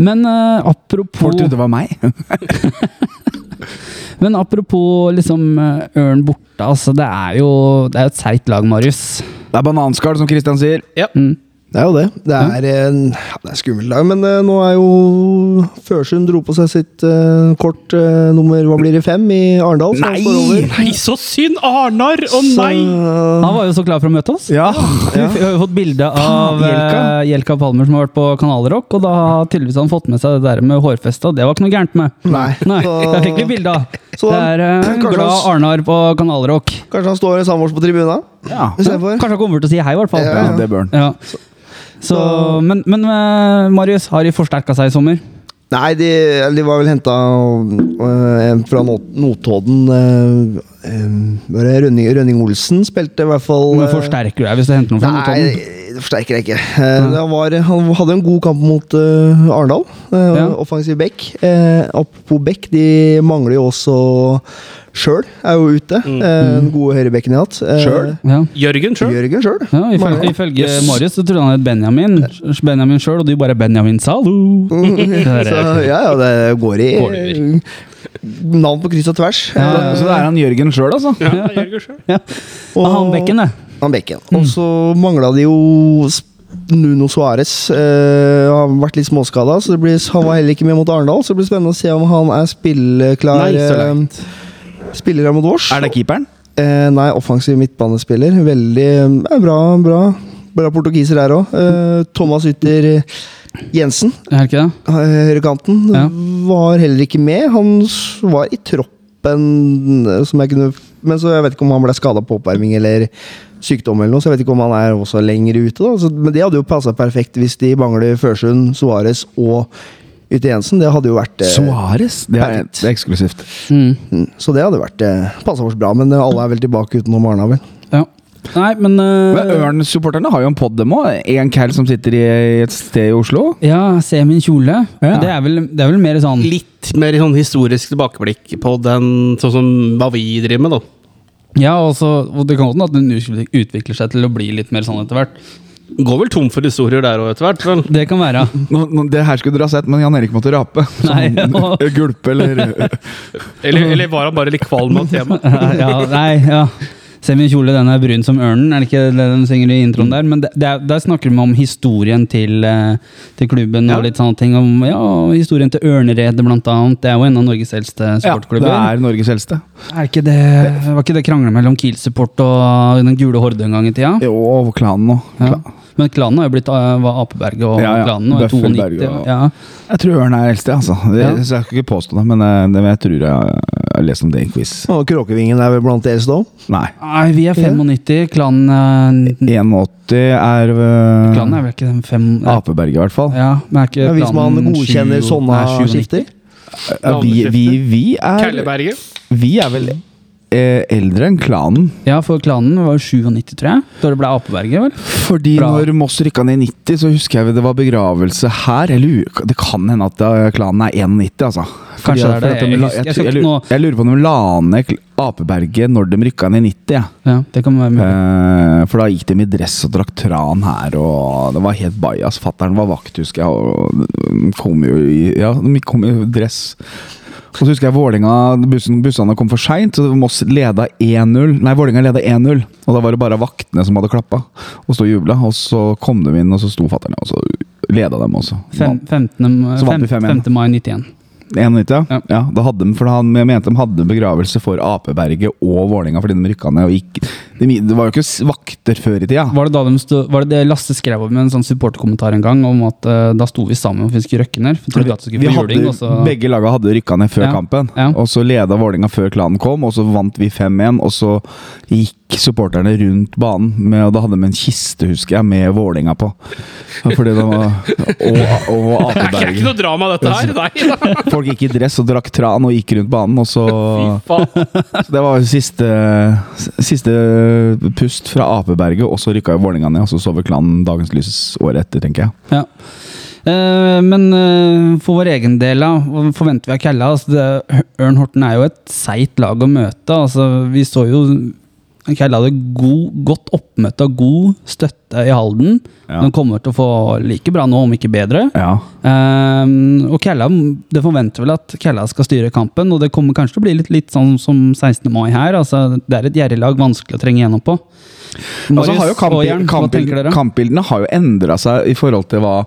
S2: Men eh, apropos
S1: Folk trodde det var meg.
S2: Men apropos liksom eh, Ørn borte, altså det er jo det er jo et seigt lag, Marius.
S1: Det er bananskall, som Christian sier.
S3: Det er jo det. Det er, en, ja, det er skummelt lag, men eh, nå er jo Førsund dro på seg sitt eh, kort eh, nummer hva blir det, fem i Arendal. så han
S1: Nei!
S3: står over.
S4: Nei, så synd! Arnar! Å
S3: Så, eh,
S4: nei!
S2: Han var jo så klar for å møte oss.
S1: Ja.
S2: Vi har jo fått bilde av
S1: Faen, Jelka.
S2: eh, Jelka Palmer som har vært på Kanalrock, og da har tydeligvis han fått med seg det der med hårfeste, og det var ikke noe gærent med.
S3: Nei.
S2: Nei,
S3: Så-
S2: jeg fikk litt bilde av.
S3: Så
S2: Det er eh,
S3: kanskje
S2: glad
S3: han-
S2: Arnar på Kanalrock.
S3: Kanskje han står samboers på tribunen
S1: ja.
S3: istedenfor?
S2: Kanskje han kommer bort og sier hei, i hvert fall.
S1: ja det bør han.
S2: Ja. Så, men, men eh, Marius, har de forsterka seg i sommer?
S3: Nei, de, eller de var vel henta øh, en fra Not- Notodden. øh, øh, var det Rønning, Rønning Olsen spilte i hvert fall
S2: Men
S3: øh,
S2: forsterker du deg hvis du henter noen fra
S3: Nei,
S2: Notodden?
S3: det forsterker jeg ikke. Eh, han, var, han hadde en god kamp mot øh, Arendal. eh,
S2: Ja.
S3: Offensiv back. Eh, apropos back, de mangler jo også Sjøl er jo ute. Eh,
S2: Mm.
S3: den gode høyrebekken de har hatt. Eh,
S1: Schjøl?
S2: Ja.
S4: Jørgen sjøl.
S3: Jørgen Sjøl.
S2: Ja, ifølge, ifølge Marius så trodde han het Benjamin. Benjamin sjøl, og du bare 'Benjamin Salu'. Det
S3: Så,
S2: er-
S3: ja, ja, det går i
S4: Går over.
S3: Navn på kryss og tvers.
S2: Ja.
S1: Så så det er han Jørgen sjøl, altså.
S4: Ja, Jørgen sjøl.
S2: Ja. Og Ah, han bekken, det.
S3: Han bekken. Og så mangla de jo s- Nuno Suárez. Eh, har vært litt småskada, så det blir, han var heller ikke med mot Arendal. Så det blir spennende å se om han er spilleklar.
S4: Nei, så
S3: eh, spiller her mot Vårs.
S1: Er det keeperen?
S3: Eh, nei, offensiv midtbanespiller. Veldig eh, bra, bra. Bra portugiser der òg. Eh, Thomas Ytter Jensen,
S2: Er det ikke det?
S3: eh, høyrekanten,
S2: Ja.
S3: var heller ikke med. Han s- var i troppen, eh, som jeg kunne, men så jeg vet ikke om han ble skada på oppvarming eller sykdom, eller noe, så jeg vet ikke om han er også lenger ute. Da. Så, men det hadde jo passa perfekt hvis de mangler Førsund, Suárez og Ytter Jensen. Det hadde jo vært eh,
S1: Suárez? Det, er-
S3: perfekt.
S1: det er eksklusivt.
S2: Mm.
S3: mm, Så det hadde vært eh, passa oss bra, men eh, alle er vel tilbake utenom Arna, vel.
S2: Ja. Nei, men eh,
S1: Men Ørn-supporterne har jo en pod, dem òg. En kæll som sitter i et sted i Oslo.
S2: Ja, se min kjole.
S1: Ja.
S2: Det, er vel, det er vel mer sånn
S4: Litt mer sånn historisk tilbakeblikk på den, sånn som hva vi driver med, da.
S2: Ja, og så- og det kan godt hende at den utvikler- utvikler seg til å bli litt mer sånn etter hvert.
S4: Går vel tom for historier der òg, etter hvert. vel?
S2: Det kan være.
S1: Nå, nå, det her skulle dere ha sett, men Jan Erik måtte rape. Så
S2: Nei,
S1: han-
S2: ja.
S1: Gulpe eller øh,
S4: Eller, eller var han bare litt kvalm av temaet?
S2: ja, nei, ja. Se min kjole, den er brun som ørnen, er det ikke det de synger i introen der? Men det, det er, der snakker de om historien til, eh, til klubben
S4: Ja.
S2: og litt sånne ting. Om, ja, historien til Ørneredet, blant annet. Det er jo en av Norges eldste
S1: Ja, det
S2: supportklubber.
S1: er Norges eldste.
S2: Er ikke det, var ikke det krangler mellom Kiel-support og Den gule horde en gang i tida?
S1: Jo, og klanen nå.
S2: Ja. Men klanen har jo blitt eh, var Apeberget og
S1: Ja, ja.
S2: klanen. Og er
S1: Bøffelberget
S2: 92,
S1: og-
S2: ja.
S1: Jeg tror Ørn er eldste, altså. Det,
S2: Ja.
S1: Så jeg skal ikke påstå det, men eh, det, jeg tror jeg har lest om det i en quiz.
S3: Og Kråkevingen er vel blant deres da?
S1: Nei.
S2: Nei, vi er 95. Klanen, eh,
S1: Mm. 81 er eh,
S2: klanen er vel ikke den fem...
S1: Apeberget, i hvert fall.
S2: Ja, men er ikke
S3: Ja, hvis man
S2: klanen
S3: godkjenner
S2: sju-
S3: sånne
S2: nei, sju-
S3: skifter?
S1: Eh, Vi, vi, vi, er,
S4: Kelleberget?
S1: vi er vel eh, eldre enn klanen.
S2: Ja, for klanen var jo 97, tror jeg. Da det ble Apeberget, vel?
S1: Fordi
S2: Bra.
S1: når Moss rykka ned i 90, så husker jeg det var begravelse her. Jeg lurer, det kan hende at eh, klanen er 91, altså. Fordi
S2: Kanskje det er
S1: jeg-
S2: det. Jeg
S1: jeg,
S2: husker- jeg
S1: jeg,
S2: skal
S1: jeg,
S2: ikke
S1: lurer,
S2: nå-
S1: jeg lurer på om de la ned Kl- Apeberget når de rykka ned i 90. Ja.
S2: Ja, det kan være mulig.
S1: Eh, for da gikk de i dress og drakk tran her, og det var helt bajas. Fattern var vakt, husker jeg, og de kom jo i, ja, de kom i dress. Og så husker jeg Vålinga, bussen, bussene kom for seint, så Moss leda 1-0. Nei, Vålinga leda 1-0, og da var det bare vaktene som hadde klappa og sto og jubla. Og så kom de inn, og så sto fatter'n, og så leda dem også.
S2: Fem, 15,
S1: Så vant vi
S2: fem,
S1: 5-1.
S2: 5. mai 91.
S1: 91, ja.
S2: Ja.
S1: ja. da hadde de, for han jeg mente de hadde begravelse for Apeberget og Vålinga fordi de rykka ned og gikk de, Det var jo ikke s- vakter før i tida.
S2: Var det da de stod, var det det Lasse skrev om i en sånn supporterkommentar en gang, om at eh, da sto vi sammen og fiske røkkener? Vi trodde at vi
S1: Vi
S2: skulle få
S1: hadde,
S2: juling, og så
S1: Begge laga hadde rykka ned før
S2: Ja,
S1: kampen.
S2: ja.
S1: Og så leda Vålinga før klanen kom, og så vant vi 5-1. Og så gikk supporterne rundt banen, med, og da hadde de en kiste, husker jeg, med Vålinga på. Fordi det var, og og
S4: Det er ikke
S1: Apeberget.
S4: noe drama, dette her. Nei.
S1: folk gikk i dress og drakk tran og gikk rundt banen, og så
S2: faen.
S1: Så det var siste, siste pust fra Apeberget, og så rykka jo Vålerenga ned, og så så vel klanen dagens lys året etter, tenker jeg.
S2: Ja. Eh, men eh, for vår egen del, da, hva forventer vi av Kella? Altså, det, Ørn Horten er jo et seigt lag å møte. Altså, vi så jo Kella hadde god, godt oppmøte og god støtte i Halden.
S1: Ja.
S2: De kommer til å få like bra nå, om ikke bedre.
S1: Ja.
S2: Eh, og Kella, det forventer vel at Kella skal styre kampen, og det kommer kanskje til å bli litt, litt sånn som 16. mai her. Altså, det er et gjerrig lag, vanskelig å trenge gjennom på.
S1: Og så Altså, har jo
S2: Marius
S1: kampbil-
S2: Aajern, hva tenker
S1: kampbil-
S2: dere?
S1: Kampbildene har jo endra seg i forhold til hva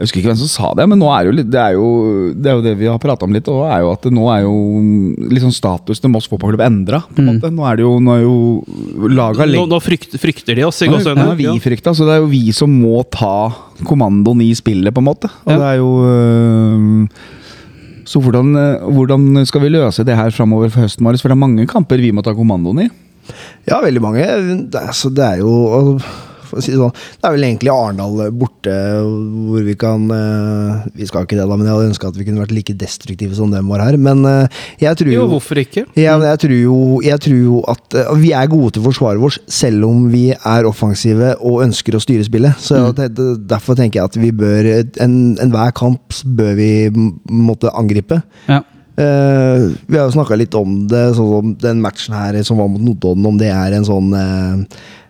S1: Jeg husker ikke hvem som sa det, men nå er jo, litt- det, er jo, det er jo det vi har prata om litt. Og er jo at det, nå er jo liksom statusen til Moss fotballklubb endra. på en
S2: Mm.
S1: måte. Nå er det jo, nå er jo laga
S4: Nå, nå frykter, frykter de oss. i
S1: Nå
S4: gåseøynene.
S1: er vi frykta, så det er jo vi som må ta kommandoen i spillet, på en måte. Og
S2: Ja.
S1: det er jo øhm, Så hvordan, øh, hvordan skal vi løse det her framover for høsten, Marius? For det er mange kamper vi må ta kommandoen i.
S3: Ja, veldig mange. Det er, så det er jo altså, for å si det sånn, Det er vel egentlig Arendal borte, hvor vi kan eh, Vi skal ikke det, da, men jeg hadde ønska at vi kunne vært like destruktive som dem var her. Men eh, jeg tror
S4: Jo,
S3: jo,
S4: hvorfor ikke?
S3: ja, men jeg, tror jo jeg tror jo at eh, vi er gode til å forsvare vårt, selv om vi er offensive og ønsker å styre spillet. Så
S4: Mm.
S3: det, det, Derfor tenker jeg at vi bør en- Enhver kamp bør vi m- måtte angripe.
S2: Ja.
S3: Eh, vi har jo snakka litt om det, sånn som den matchen her som var mot Notodden, om det er en sånn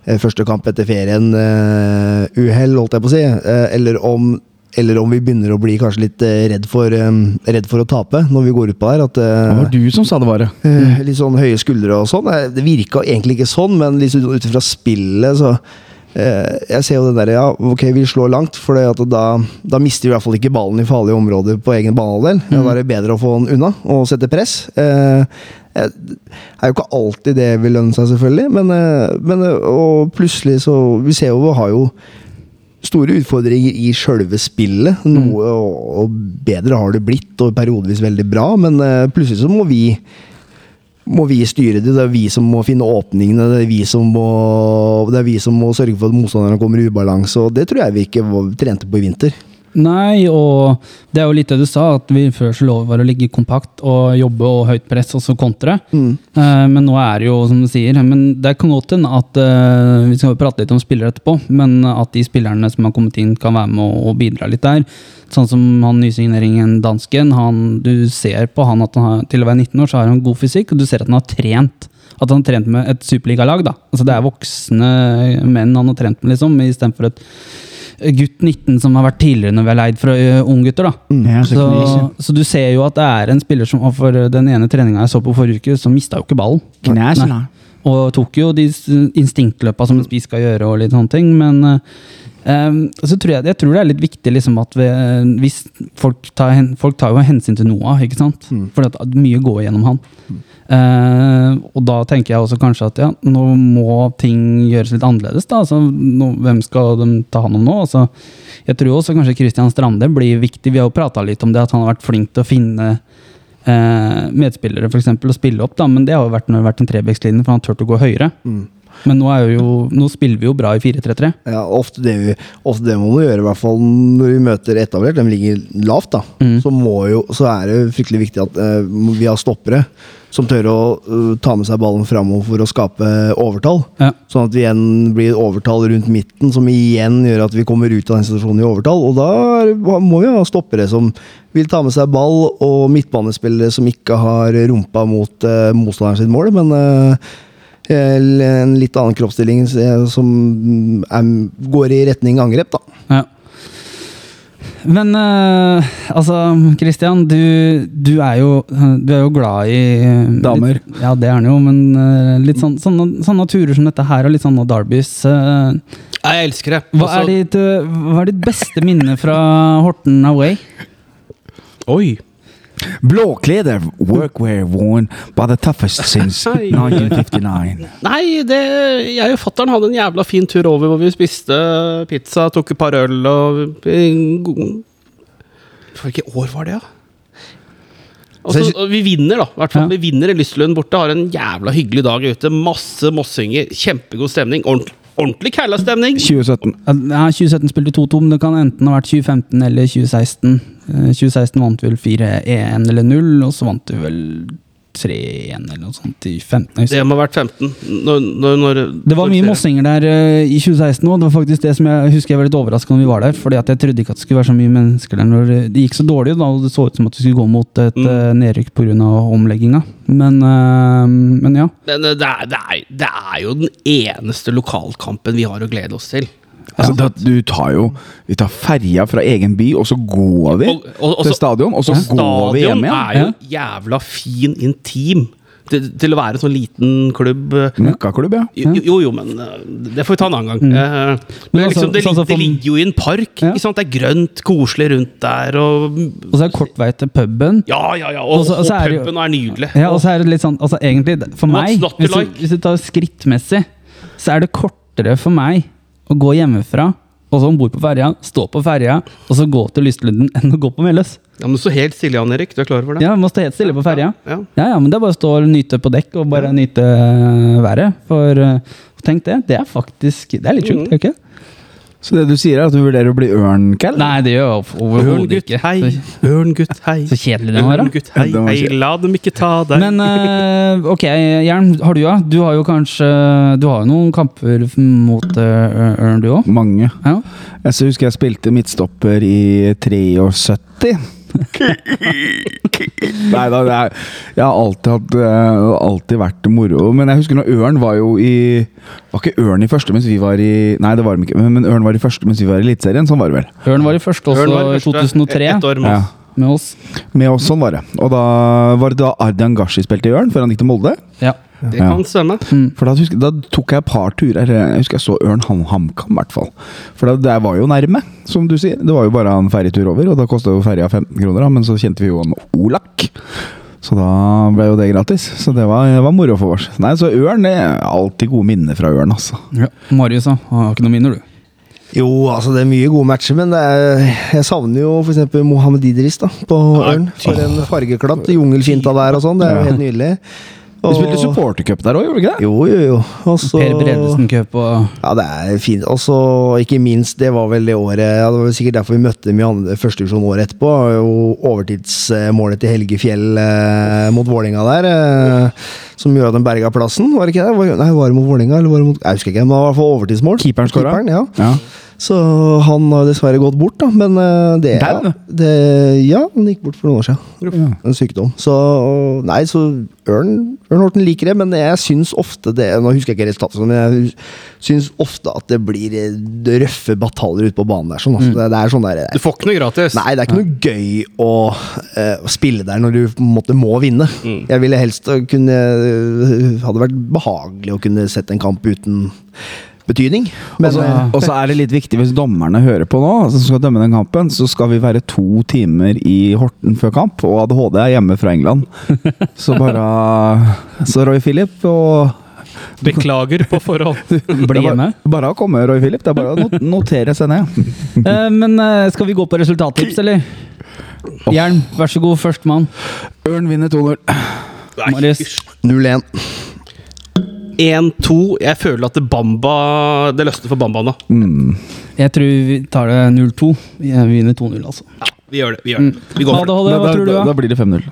S3: eh, første kamp etter ferien eh, uhell, holdt jeg på å si, eh, eller om eller om vi begynner å bli kanskje litt eh, redd for, eh, redd for å tape når vi går ut på der. At,
S1: Det
S3: eh,
S1: var du som sa det, var det.
S3: Eh, Litt sånn høye skuldre og sånn. Eh, Det virka egentlig ikke sånn, men liksom ut ifra spillet, så eh, Jeg ser jo den derre Ja, ok, vi slår langt, for det at da, da mister vi i hvert fall ikke ballen i farlige områder på egen banehalvdel. Mm. Da er det bedre å få den unna og sette press. Eh, eh, Det er jo ikke alltid det vil lønne seg, selvfølgelig, men, eh, men eh, Og plutselig så Vi ser jo vi har jo store utfordringer i sjølve spillet. Noe, og, og bedre har det blitt, og periodevis veldig bra, men eh, plutselig så må vi må vi styre det, det er vi som må finne åpningene, det er vi som må, det er vi som må sørge for at motstanderne kommer i ubalanse, og det tror jeg vi ikke var, trente på i vinter.
S2: Nei, og det er jo litt det du sa, at vi før så lov var å ligge kompakt og jobbe og høyt press, og så kontre.
S3: Mm.
S2: Eh, men nå er det jo som du sier, men det kan godt hende at eh, Vi skal jo prate litt om spillere etterpå, men at de spillerne som har kommet inn, kan være med og, og bidra litt der. Sånn som han nysigneringen dansken. Han, du ser på han at han har, til å være 19 år så har han god fysikk, og du ser at han har trent. At han har trent med et superligalag, da. Altså det er voksne menn han har trent med, liksom, istedenfor et gutt 19 som har vært tidligere når vi har leid fra ø, unggutter. da. Så, så du ser jo at det er en spiller som og for den ene treninga jeg så på forrige uke, som mista jo ikke ballen.
S1: Knæs,
S2: Nei. Og tok jo de s- instinktløpa som en spiss skal gjøre, og litt sånne ting. Men eh, em, så tror jeg, jeg tror det er litt viktig liksom, at vi, eh, hvis folk tar, hen, folk tar jo hensyn til Noah, ikke sant? For at mye går gjennom han. Eh, og da tenker jeg også kanskje at ja, nå må ting gjøres litt annerledes. da, altså, nå, Hvem skal de ta hånd om nå? Altså, jeg tror også kanskje Christian Strande blir viktig. Vi har jo prata litt om det, at han har vært flink til å finne eh, medspillere for eksempel, og spille opp, da, men det har jo vært når det har vært en trebekslinje, for han har turt å gå høyere. Men nå, er jo, nå spiller vi jo bra i 4-3-3.
S3: Mm. Ja, ofte, det vi, ofte det må vi gjøre, i hvert fall når vi møter etablert, de ligger lavt, da. Så, må jo, så er det fryktelig viktig at eh, vi har stoppere som tør å eh, ta med seg ballen framover for å skape overtall.
S2: Ja.
S3: Sånn at vi igjen blir overtall rundt midten, som igjen gjør at vi kommer ut av den situasjonen i overtall. Og da er- må vi ha stoppere som vil ta med seg ball, og midtbanespillere som ikke har rumpa mot uh, motstanderen sitt mål, men eh, en litt annen kroppsstilling eh, som mm, er, går i retning angrep, da.
S2: Ja. Men eh, altså, Christian, du, du, er jo, du er jo glad i eh,
S1: Damer.
S2: Litt, ja, det er han jo, men eh, litt sånn, sånne, sånne turer som dette her, og litt sånne derbys eh,
S4: Nei, Jeg elsker det.
S2: hva,
S4: Altså-
S2: er ditt, eh, hva er ditt beste minne fra Horten Away?
S4: Oi.
S1: Blåkleder, workwear worn by the toughest since 1959.
S4: Nei, det, jeg og fattern hadde en jævla fin tur over hvor vi spiste pizza, tok et par øl og en god- Hvilket år var det, da? Og så, og vi vinner, da. i Hvert fall.
S2: Ja.
S4: Vi vinner i Lystlund borte. Har en jævla hyggelig dag ute. Masse mossinger. Kjempegod stemning. Ordentlig, ordentlig kæla stemning.
S1: 2017.
S2: Ja, 2017 spilte 2-2, men det kan enten ha vært 2015 eller 2016. Eh, 2016 vant vi vel 4-1 eller 0, og så vant vi vel 3-1 eller noe sånt i 15. jeg husker
S4: Det må ha vært 15. Når, når, når,
S2: Det var mye
S4: når serien-
S2: mossinger der eh, i 2016 òg. Det var faktisk det som jeg husker jeg var litt overraska når vi var der. fordi at jeg trodde ikke at det skulle være så mye mennesker der når eh, det gikk så dårlig. da, og Det så ut som at vi skulle gå mot et
S4: Mm.
S2: eh, nedrykk pga. omlegginga. Men, eh, men ja.
S4: Men eh, det er, det, er, det er jo den eneste lokalkampen vi har å glede oss til.
S1: Altså, da, du tar jo Vi tar ferja fra egen by, og så går vi
S4: Og- og- og
S1: til
S4: så-
S1: stadion, og så går vi hjem
S4: Stadion
S1: igjen.
S4: er jo jævla fin, intim, til, til å være en sånn liten klubb.
S1: Møkkaklubb, ja.
S4: Jo, jo, jo, men eh, det får vi ta en annen gang. Eh,
S2: Mm. Men
S4: Men
S2: altså,
S4: liksom, det,
S2: sånn som
S4: lig- det
S2: for-
S4: ligger jo i en park.
S2: Ja.
S4: Ikke sant? Det er grønt, koselig rundt der. Og,
S2: Og så er det kort vei til puben.
S4: ja, ja, ja. Og,
S2: Og så- og
S4: og,
S2: så er det jo-
S4: puben er nydelig.
S2: Ja, og så er det litt sånn, altså egentlig, det- For
S4: What's
S2: meg,
S4: not to
S2: hvis du,
S4: like?
S2: hvis du tar skrittmessig, så er det kortere for meg å gå hjemmefra og så om bord på ferja, stå på ferja og så gå til Lystlunden enn å gå på Meløs.
S4: Ja, men du står helt stille, Jan Erik. Du er klar over det?
S2: Ja, man må stå helt stille på ferja.
S4: Ja.
S2: Ja, ja, men det er bare å stå og nyte på dekk og bare nyte øh, været. For øh, tenk det, det er faktisk Det er litt
S4: Mm.
S2: sjukt, er det ikke?
S1: Så det du sier, er at du vurderer å bli ørnkel?
S2: Nei, det gjør jeg over- overhodet
S4: Ørngutt,
S2: ikke.
S4: hei.
S2: Så,
S4: Ørngutt, hei.
S2: så kjedelig den var, da.
S4: Ørngutt, hei.
S1: Den var
S4: hei.
S1: kjedelig.
S4: La dem ikke ta deg.
S2: Men øh, ok, Jern, har du ja? Du har jo kanskje Du har jo noen kamper mot øh, Ørn, du òg?
S1: Mange.
S2: Ja.
S1: Jeg så husker jeg spilte midtstopper i 73. Nei da, det er, jeg har alltid, hatt, eh, alltid vært moro. Men jeg husker når Ørn var jo i Var ikke Ørn i første mens vi var i Nei, det var de ikke. Men, men Ørn var i første mens vi var i Eliteserien. Sånn var det vel.
S2: Ørn var i første
S4: Ørn
S2: også, i
S4: var første,
S2: 2003,
S4: Ett år med
S1: Ja.
S4: oss.
S2: med oss.
S1: Med oss, sånn var det. Og da var det da Ardian Gashi spilte i Ørn, før han gikk til Molde.
S2: Ja.
S4: Det
S1: Ja.
S4: kan stemme.
S1: For da, husker, da tok jeg et par turer. Jeg husker jeg så Ørn Ham- HamKam, i hvert fall. For da, det var jo nærme, som du sier. Det var jo bare en ferjetur over, og da kosta jo ferja 15 kroner, da, men så kjente vi jo en Olak. Så da ble jo det gratis. Så det var, det var moro for oss. Nei, så Ørn det er alltid gode minner fra Ørn, altså.
S2: Marius, da. Har ikke noe minner, du?
S3: Jo, altså det er mye gode matcher, men det er, jeg savner jo f.eks. Mohammed Idris da, på Ørn. For en fargeklatt jungelkinta der og sånn. Det er jo helt nydelig.
S1: Vi spilte supportercup der òg, gjorde vi ikke det?
S3: Jo, jo, jo. Og så-
S2: Per Bredesen-cup og
S3: Ja, det er fint. Og så, ikke minst, det var vel det året ja, Det var vel sikkert derfor vi møtte dem i andre- første divisjon året etterpå. var jo Overtidsmålet til Helge Fjell eh, mot Vålinga der, eh, som gjorde at de berga plassen. Var det ikke det? Var- Nei, var det mot Vålinga? Eller var det mot, jeg husker ikke, men det var i hvert fall overtidsmål.
S1: Keeperen skåra.
S3: ja.
S1: Ja.
S3: Så han har dessverre gått bort, da. Men eh, det,
S1: Dau?
S3: ja, det Ja, han gikk bort for noen år siden. En sykdom. Så Nei, så Ørn, Ørn Horten liker det, men jeg syns ofte det Nå husker jeg ikke resultatet, men jeg syns ofte at det blir eh, røffe bataljer ute på banen der. Sånn, altså. det, det er sånn der,
S4: Du får ikke noe gratis.
S3: Nei, det er ikke noe gøy å eh, å spille der når du på en måte må vinne. Jeg ville helst å kunne eh, Hadde vært behagelig å kunne sett en kamp uten betydning. Men,
S1: Og så-
S3: eh,
S1: og så er det litt viktig, hvis dommerne hører på nå, altså, som skal dømme den kampen, så skal vi være to timer i Horten før kamp, og ADHD er hjemme fra England. Så bare Så Roy Philip og
S4: Beklager på forhånd.
S1: Det
S2: bli
S1: er bare-
S2: hjemme.
S1: Bare å komme, Roy Philip. Det er bare å not- notere seg ned.
S2: Eh, men eh, skal vi gå på resultattips, eller? Jern, vær så god, førstemann.
S1: Ørn vinner 2-0.
S2: Marius.
S3: eh, 0-1.
S4: 1-2. Jeg føler at det Bamba Det løsner for Bamba nå.
S2: Jeg tror vi tar det 0-2. Vi vinner 2-0, altså.
S4: Ja, vi gjør det. Vi, gjør
S2: Mm.
S4: det. vi går for det.
S2: ADHD, hva
S1: da,
S2: tror du,
S1: da, da
S2: da?
S1: blir det 5-0.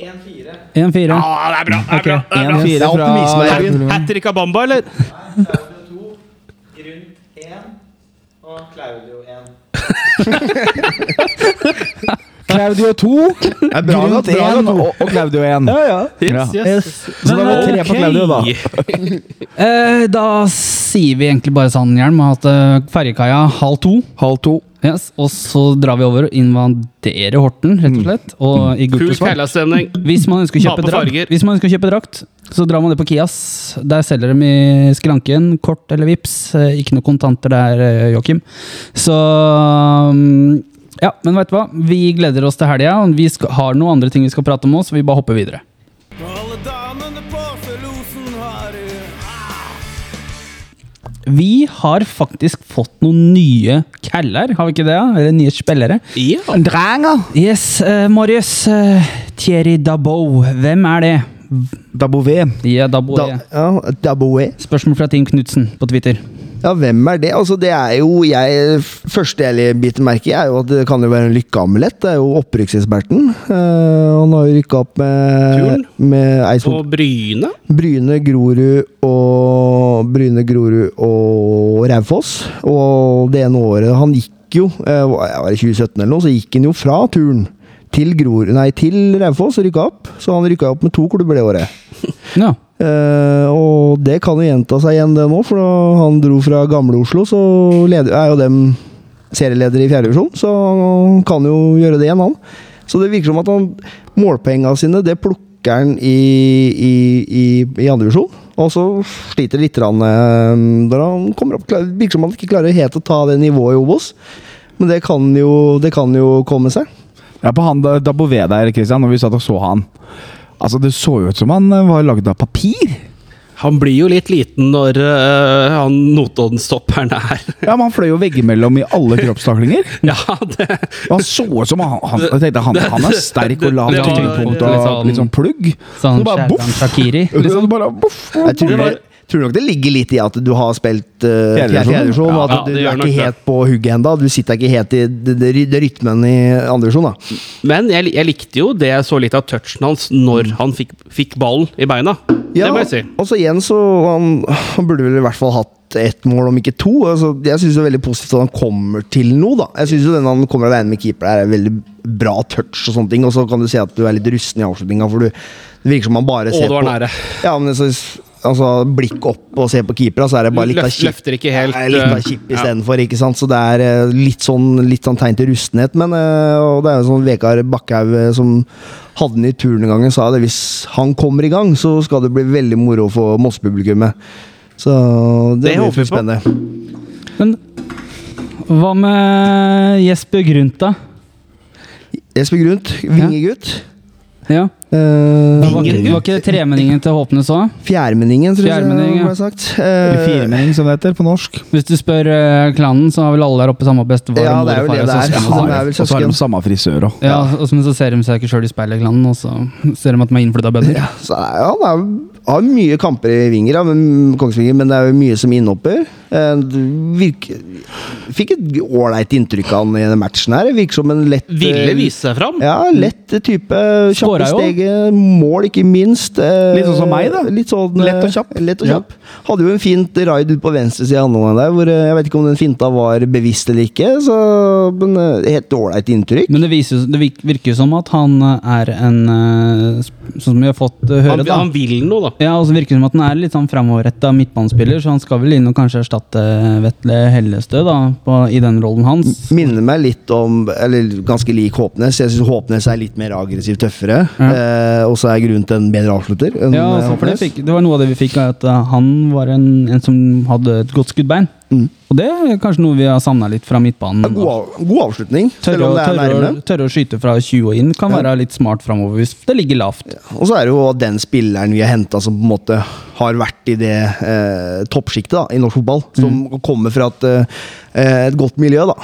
S2: 1-4.
S4: Ah, det er bra! det er
S2: Ok,
S4: bra, det er bra.
S2: 1-4
S3: Det er
S2: fra
S3: optimisme her,
S2: Ørn.
S4: Hat trick av Bamba, eller?
S1: Claudio 2,
S3: Det er bra
S1: Grunn
S3: at bra
S1: 1
S3: at-
S1: og, og Claudio 1.
S4: Yes,
S1: Ja.
S4: yes.
S1: Så da var det tre
S2: Men,
S1: på Claudio, da.
S2: eh, da sier vi egentlig bare sånn, Jern, at eh, ferjekaia halv to.
S1: Halv to.
S2: Yes, og så drar vi over og invaderer Horten, rett og slett. Og i gult
S4: Full
S2: og svart.
S4: keilastemning.
S2: Hvis man ønsker å kjøpe
S4: Ta på farger.
S2: drakt, hvis man ønsker å kjøpe drakt så drar man det på Kias. Der selger de i skranken. Kort eller vips. Eh, Ikke noe kontanter der, eh, Joakim. Så mm, Ja, men veit du hva? Vi gleder oss til helga. og Vi skal, har noen andre ting vi skal prate om òg, så vi bare hopper videre.
S5: Alle damene på Felosen har du.
S2: Vi har faktisk fått noen nye caller, har vi ikke det? ja? Eller nye spillere.
S4: Ja.
S1: Drenger.
S2: Yes, eh, Marius. eh, Thierry Dabou. Hvem er det?
S1: Dabouvé.
S2: Ja, Dabou.
S3: Da,
S2: ja.
S3: ja, Daboe.
S2: Spørsmål fra Team Knutsen på Twitter.
S3: Ja, hvem er det? Altså, det er jo jeg Første jeg biter merke i, er jo at det kan jo være en lykkeamulett. Det er jo opprykkseksperten. Eh, han har jo rykka opp med,
S4: Turn.
S3: med Eidsvoll
S4: Og Bryne?
S3: Bryne, Grorud og Bryne, Grorud og Raufoss. Og det ene året han gikk jo, eh, hva- ja, var det 2017 eller noe, så gikk han jo fra turn til Grorud, nei, til Raufoss og rykka opp. Så han rykka opp med to klubber det året.
S2: Ja.
S3: Eh, og det kan jo gjenta seg igjen, det nå, for da han dro fra gamle Oslo, så leder, er jo dem serieleder i fjerde divisjon, så han kan jo gjøre det igjen, han. Så det virker som at han målpenga sine, det plukker han i, i, i, i andre divisjon. Og så sliter litt grann, eh, når han kommer opp. Klar- Virker som han ikke klarer helt å ta det nivået i Obos. Men det kan jo, det kan jo komme seg.
S1: Ja, på han da, da Bouvet der, Christian, når vi satt og så han. Altså, det så jo ut som han eh, var lagd av papir.
S4: Han blir jo litt liten når eh, han Notodden-stopperen er
S1: Ja, men han fløy jo veggimellom i alle kroppstaklinger.
S4: Ja, det
S1: Og han så ut som han, han, jeg tenkte, han, han er sterk og lav
S4: Det- det- det-
S1: tyngdepunkt
S2: det-
S1: og
S2: det-
S1: litt sånn plugg.
S2: Sånn
S1: Så bare
S2: Shazam
S1: boff!
S2: Shakiri.
S1: Så bare boff!
S3: Jeg tror, tror nok det ligger litt i at du har spilt uh,
S1: Fjerde divisjon.
S3: fjerdedivisjon, og at
S4: Ja,
S3: du,
S4: det
S3: du
S4: gjør
S3: er
S4: nok det.
S3: ikke helt på hugget ennå. Du sitter ikke helt i det, det, det rytmen i andredivisjon, da.
S4: Men jeg, jeg likte jo det jeg så litt av touchen hans når han fikk, fikk ballen i beina. Det må jeg si.
S3: Og så igjen, så han, han burde vel i hvert fall hatt ett mål, om ikke to. Altså, jeg syns det er veldig positivt at han kommer til noe, da. Jeg syns jo den han kommer alene med keeper, er en veldig bra touch og sånne ting. Og så kan du se at du er litt rusten i avslutninga, for du, det virker som han bare
S4: Og
S3: ser
S4: det var
S3: på
S4: nære.
S3: Ja, men så, altså, blikk opp og se på keeper, så er det bare litt av
S4: Løft,
S3: kjipt.
S4: løfter ikke helt
S3: Nei, litt av kjipp
S4: eh,
S3: istedenfor, ikke sant. Så det er eh, litt sånn, litt sånn tegn til rustenhet. Men eh, og det er jo sånn Vekar Bakkhaug eh, som hadde den i turen en gang, sa det. Hvis han kommer i gang, så skal det bli veldig moro for Moss-publikummet. Så det,
S4: Det
S3: blir
S4: håper vi
S3: blir
S4: på.
S3: spennende.
S2: Men hva med Jesper Grunt, da?
S3: Jesper Grundt, vingegutt.
S2: Ja.
S3: Eh,
S2: Var, ikke- var ikke det tremenningen til Håpnes òg?
S3: Fjærmenningen, tror jeg det
S2: Fjærmenningen, ja.
S3: ble sagt. Eh,
S1: Firmenning, som det heter på norsk.
S2: Hvis du spør eh, klanen, så har vel alle der oppe samme bestefar
S3: Ja,
S2: og
S3: det er
S2: mor og
S3: jo
S2: far
S3: det
S2: og
S3: det er.
S2: søsken.
S3: Ja,
S2: og
S3: det
S2: sånn.
S3: er vel
S1: Og så har
S3: søsken.
S1: de samme frisør òg.
S2: Ja, og så- så ser de seg ikke sjøl i speilet, klanen, og så ser de at de er innflytta bønder.
S3: Ja, så er, han er, har mye kamper i Vinger, ja, men, Kongsvinger, men det er jo mye som innhopper. Eh, det virker- Fikk et ålreit inntrykk av han i denne matchen her. Virker som en lett eh,
S4: Ville vise seg fram.
S3: Ja, lett type. Kjappe
S2: Skåra jo.
S3: steg, mål, ikke minst. eh,
S1: Litt sånn som meg, da.
S3: Litt sånn, eh,
S1: Lett og kjapp.
S3: Lett og
S1: Ja.
S3: kjapp. Hadde jo en fint raid ut på venstresida av andre omgang der, hvor eh, jeg vet ikke om den finta var bevisst eller ikke, så, men eh, helt ålreit inntrykk.
S2: Men det, viser, jo- det virk- virker jo som at han eh, er en eh, sp- Sånn som vi har fått eh, høre,
S4: Han,
S2: da.
S4: han vil noe, da.
S2: Ja, og så virker det som at han er litt sånn framoverretta midtbanespiller, så han skal vel inn og kanskje erstatte eh, Vetle Hellestø da, på, i den rollen hans.
S3: Minner meg litt om Eller ganske lik Håpnes. Jeg syns Håpnes er litt mer aggressiv, tøffere.
S2: Ja.
S3: Eh, og så er grunnen til en bedre avslutter. enn,
S2: Ja,
S3: eh,
S2: altså, for det,
S3: Håpnes.
S2: fikk, det var noe av det vi fikk, er at eh, han var en, en som hadde et godt skuddbein.
S3: Mm.
S2: Og det er kanskje noe vi har savna litt fra midtbanen.
S3: Ja, god, av, god avslutning, selv
S2: Tørre,
S3: om
S2: å-
S3: det er
S2: tørre,
S3: nærme.
S2: å- tørre å skyte fra 20 og inn kan
S3: Ja.
S2: være litt smart framover hvis det ligger lavt.
S3: Og så er det jo den spilleren vi har henta som på en måte har vært i det eh, toppsjiktet da, i norsk fotball. Som
S2: Mm.
S3: kommer fra et, eh, et godt miljø, da.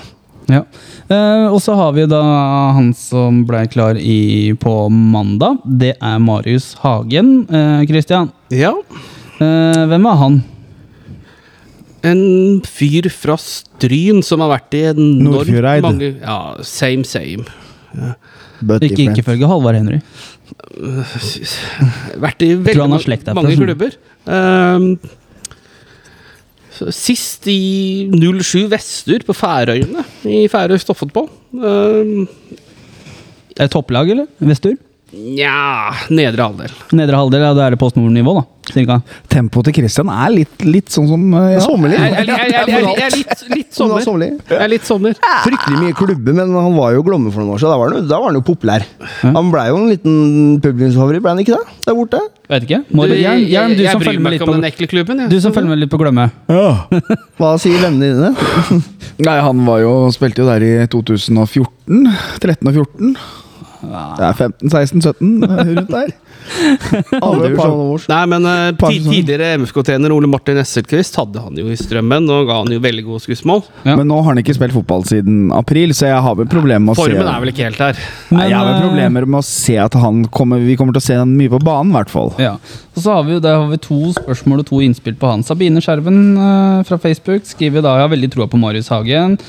S2: Ja. Eh, og så har vi da han som ble klar i, på mandag. Det er Marius Hagen. Eh, Christian,
S4: Ja.
S2: eh, hvem er han?
S4: En fyr fra Stryn som har vært i enormt
S1: Nordfjordeid.
S4: mange Ja, same, same.
S3: But
S2: Ikke,
S3: different.
S2: ikke følge Halvard Henry.
S4: Vært i
S2: Tror
S4: veldig
S2: han har
S4: mange,
S2: slekt derfra,
S4: mange
S2: sånn.
S4: klubber. Ehm, så sist i 07 Vestur, på Færøyene, i Færøy Stoffetball. Um,
S2: Er det topplag, eller? Vestur?
S4: Nja, nedre halvdel.
S2: Nedre halvdel, ja, da er det Post Nord-nivå, da. Cirka.
S1: Tempoet til Christian er litt, litt sånn som eh, ja.
S3: Sommerlig.
S4: Jeg jeg- jeg- jeg- jeg- jeg er litt, litt
S3: Han var
S4: sommer.
S3: sommerlig.
S4: Jeg er litt sommer.
S3: Fryktelig mye klubber, men han var jo i Glomme for noen år siden. Da var han jo, da var han jo populær. Han blei jo en liten publikumsfavoritt, ble han ikke det? Der borte.
S2: Vet ikke. Må du, Jern, Jern, du,
S4: jeg
S2: som
S4: bryr
S2: følger
S4: meg
S2: med litt
S4: ikke om den
S2: på,
S4: ekle klubben. Jeg.
S2: du som følger med litt på glemme.
S3: Hva sier vennene dine?
S1: Nei, han var jo, spilte jo der i 2014. 13 og 14. Det er 15-16-17 rundt der.
S3: Alle
S1: Aldri
S3: par
S1: sånn.
S3: noen års.
S4: Nei, men eh,
S1: Par
S4: ti-
S1: sesonger.
S4: tidligere MFK-trener Ole Martin Esselquist hadde han jo i strømmen, og ga han jo veldig gode skussmål.
S2: Ja.
S1: Men nå har han ikke spilt fotball siden april, så jeg har vel problemer med å se
S4: Formen er vel ikke helt der.
S1: Nei, jeg har vel
S2: eh,
S1: problemer med å se at han kommer Vi kommer til å se han mye på banen, i hvert fall.
S2: Ja. Og så har vi jo der har vi to spørsmål og to innspill på han. Sabine Skjerven eh, fra Facebook skriver da jeg har veldig troa på Marius Hagen.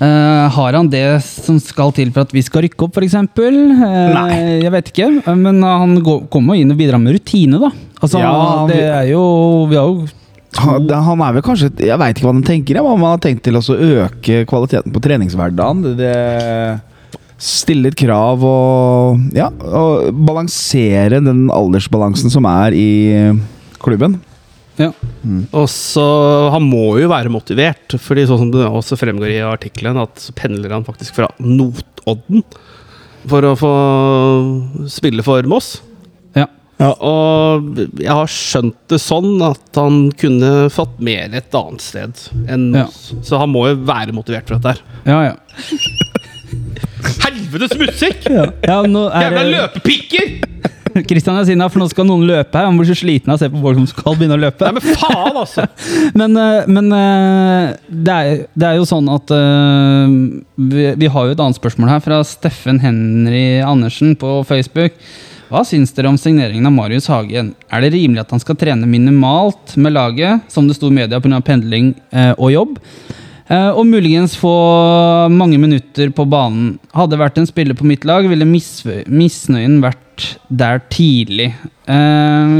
S2: Eh, har han det som skal til for at vi skal rykke opp, f.eks.? Uh,
S1: Nei.
S2: Jeg vet ikke. eh, Men han går, kommer jo inn og bidrar med rutine, da. Altså,
S1: Ja,
S2: det
S1: vi-
S2: er jo Vi har jo
S1: Han, det- han er vel kanskje Jeg veit ikke hva de tenker, jeg, men om han har tenkt til å så øke kvaliteten på treningshverdagen. Det, det Stille litt krav og Ja, og balansere den aldersbalansen som er i klubben.
S2: ja.
S4: Og så, Han må jo være motivert, fordi sånn som det også fremgår i artikkelen, at så pendler han faktisk fra Notodden for å få spille for Moss.
S2: Ja.
S4: Og jeg har skjønt det sånn at han kunne fått mer et annet sted enn
S2: Ja.
S4: Moss. Så han må jo være motivert for dette her.
S2: ja, ja.
S4: Helvetes musikk!
S2: ja nå er
S4: Jævla
S2: det
S4: løpepikker!
S2: Kristian er sinna, for nå skal noen løpe her. Han blir så sliten av å se på folk som skal begynne å løpe.
S4: Nei, men faen, altså!
S2: Men, eh, men eh, det, er, det er jo sånn at eh, vi, vi har jo et annet spørsmål her fra Steffen Henry Andersen på Facebook. Hva syns dere om signeringen av Marius Hagen? Er det rimelig at han skal trene minimalt med laget, som det sto i media pga. pendling eh, og jobb? Eh, og muligens få mange minutter på banen. Hadde det vært en spiller på mitt lag, ville misfø- misnøyen vært der tidlig. Eh,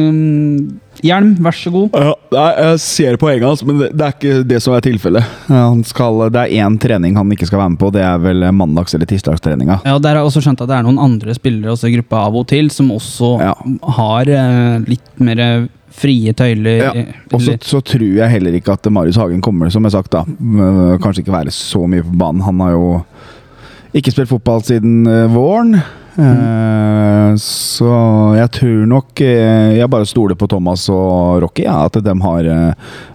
S2: Hjelm, vær så god.
S1: Ja, nei, jeg ser poenget hans, men det det er ikke det som er tilfellet. Ja, Han skal, det er én trening han ikke skal være med på, det er vel mandags- eller tirsdagstreninga.
S2: Ja, og der har jeg også skjønt at det er noen andre spillere også i gruppa av og til, som også
S1: Ja.
S2: har eh, litt mer eh, frie tøyler.
S1: Ja, Og så,
S2: Eller-
S1: så tror jeg heller ikke at Marius Hagen kommer, som jeg sagt, da. øh, Kanskje ikke være så mye på banen. Han har jo ikke spilt fotball siden øh, våren. Eh, Så jeg tror nok eh, Jeg bare stoler på Thomas og Rocky, ja, at de har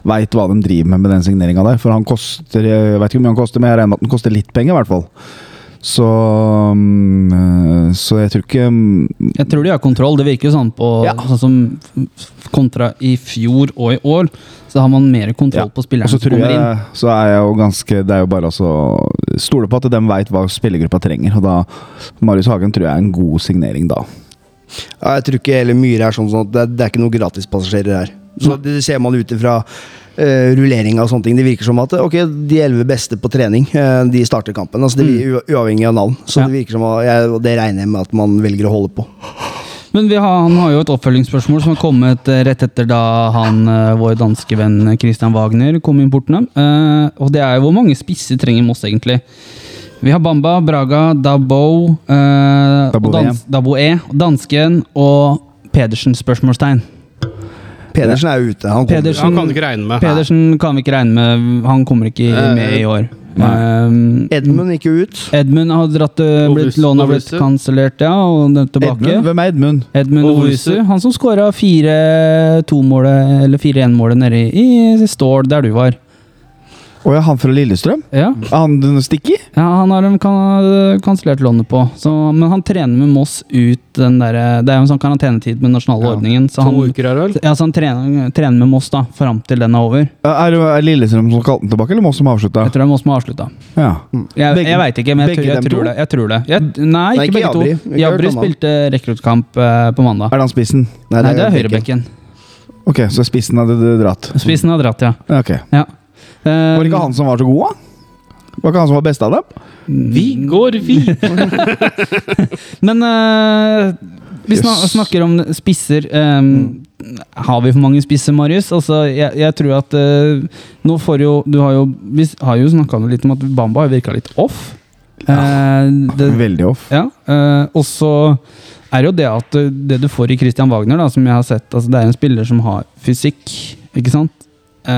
S1: veit hva de driver med med den signeringa der. For han koster Jeg vet ikke hvor mye han koster, men jeg regner med at han koster litt penger, i hvert fall. Så mm, eh, Så jeg tror ikke mm,
S2: Jeg tror de har kontroll. Det virker jo sånn på
S1: Ja.
S2: sånn som f- kontra i fjor og i år, så har man mer kontroll
S1: Ja,
S2: på spillerne
S1: Og så
S2: som
S1: tror
S2: kommer inn.
S1: jeg, så er jeg jo ganske Det er jo bare altså å stole på at de veit hva spillergruppa trenger. Og da Marius Hagen tror jeg er en god signering da.
S3: Ja, jeg tror ikke hele Myhre er sånn, sånn at det, er- det er ikke noen gratispassasjerer her. Så det ser man ut ifra eh, rullering og sånne ting. Det virker som at eh, ok, de elleve beste på trening eh, de starter kampen. Altså, det blir u- Uavhengig av navn. Så
S2: Ja.
S3: det virker som at, jeg, og det regner jeg med at man velger å holde på.
S2: Men vi har, han har jo et oppfølgingsspørsmål som har kommet eh, rett etter da han, eh, vår danske venn Christian Wagner kom inn portene. Eh, og det er jo hvor mange spisser trenger Moss egentlig? Vi har Bamba, Braga, Dabo, eh,
S1: Dabo
S2: og dans, Dabo E, og dansken og Pedersen? spørsmålstegn.
S3: Pedersen er jo ute. Han kommer.
S2: Pedersen,
S4: Han kan du ikke regne med.
S2: Pedersen kan vi ikke regne med. Han kommer ikke
S4: Eh,
S2: med i år. Eh,
S3: Edmund gikk jo ut.
S2: Edmund har dratt, eh, blitt,
S4: Ovese-
S2: lånet har blitt
S4: Ovese.
S2: kansellert, ja, og den er tilbake.
S1: Edmund, hvem er Edmund?
S2: Edmund
S4: Og
S2: Owusu,
S4: Owusu.
S2: han som skåra 4-2-målet, eller 4-1-målet nede i i Stord, der du var.
S1: Å ja, han fra Lillestrøm?
S2: Ja,
S1: Han stikker?
S2: ja han har de kan- kansellert lånet på. Så, men han trener med Moss ut den derre Det er jo en sånn karantenetid med den nasjonale
S1: Ja.
S2: ordningen. Så
S4: To
S2: han,
S4: uker er det vel?
S2: ja, så han trener, trener med Moss da, fram til den er over.
S1: Er det er Lillestrøm som kalte den tilbake, eller Moss som avslutta?
S2: Jeg tror Mm. det er Moss som har avslutta.
S1: Ja.
S2: Jeg,
S1: Begge-
S2: jeg veit ikke, men jeg,
S1: begge
S2: tror- jeg,
S1: dem
S2: tror
S1: to?
S2: det, jeg tror det. Jeg, nei,
S3: Nei,
S2: ikke
S3: ikke
S2: begge
S3: Jabri.
S2: to.
S3: Vi har hørt
S2: Jabri
S3: om han.
S2: spilte rekruttkamp eh, på mandag.
S1: Er det han spissen?
S2: Nei, det er høyrebekken.
S1: Ok, så spissen hadde du dratt?
S2: Spissen har dratt, ja.
S1: Ja, Ok.
S2: ja. Eh,
S1: Var det ikke han som var så god, da? Var ikke han som var best av dem?
S4: Vi går videre.
S2: Men eh, vi sna
S1: Yes.
S2: snakker om spisser. eh, Har vi for mange spisser, Marius? Altså, jeg, jeg tror at eh, Nå får jo Du har jo, vi s- har jo snakka litt om at Bamba har virka litt off. Eh, det,
S1: Veldig off.
S2: ja, eh, og så er det jo det at eh, det du får i Christian Wagner, da, som jeg har sett altså, Det er en spiller som har fysikk, ikke sant? Eh,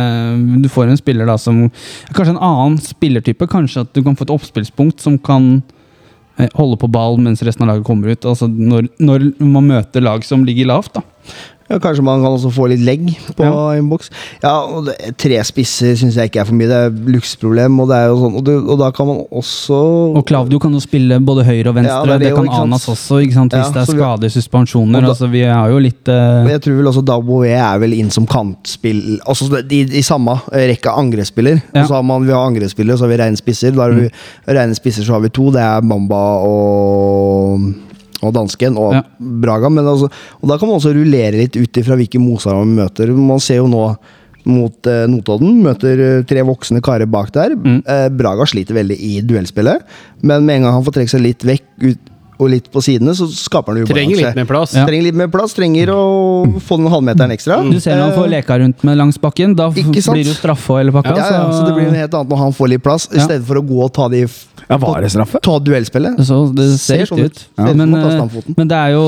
S2: du får en spiller da som Kanskje en annen spillertype. Kanskje at du kan få et oppspillspunkt som kan eh, holde på ball mens resten av laget kommer ut. Altså når, når man møter lag som ligger lavt, da.
S3: Ja, kanskje man kan også få litt legg på innboks. Ja, og det, Tre spisser syns jeg ikke er for mye. Det er luksusproblem. Og det er jo sånn, og, det, og da kan man også
S2: Og Klavdio kan jo spille både høyre og venstre,
S3: Ja, det er
S2: det,
S3: det jo,
S2: kan
S3: ikke sant?
S2: Anas også, ikke sant? hvis
S3: Ja,
S2: det er
S3: så vi-
S2: skader, suspensjoner.
S3: Og da-
S2: altså, vi har jo litt eh,
S3: Men Jeg tror vel også Daboe er vel inn som kantspill Altså det- i, i samme rekke angrespiller.
S2: Ja. Mm.
S3: Og så har man, vi har angrespillere, og så har vi reine spisser. Da har vi reine spisser, så har vi to. Det er Mamba og og dansken og
S2: Ja.
S3: Braga. Men altså, og da kan man også rullere litt ut ifra hvilke motstandere man møter. Man ser jo nå mot eh, Notodden, møter eh, tre voksne karer bak der.
S2: Mm.
S3: Eh, Braga sliter veldig i duellspillet, men med en gang han får trekke seg litt vekk ut, og litt på sidene, så skaper han ubalanse.
S4: Trenger litt mer plass.
S2: Ja. Mm.
S3: Trenger litt mer plass, trenger å få den halvmeteren ekstra.
S2: Du ser når han får
S3: Eh,
S2: leka rundt med langs bakken, da f-
S3: Ikke sant?
S2: blir det jo straffe og hele pakka.
S3: Eh, ja, ja, så det blir noe helt annet når han får litt plass, i
S2: Ja.
S3: stedet for å gå og ta de f-
S1: Ja, var det straffe?
S3: Ta duellspillet.
S2: Så det ser, riktig
S3: Ser sånn
S2: ut.
S3: ut. Ser ut som
S2: Men,
S3: han tar
S2: eh,
S3: standfoten.
S2: men det er jo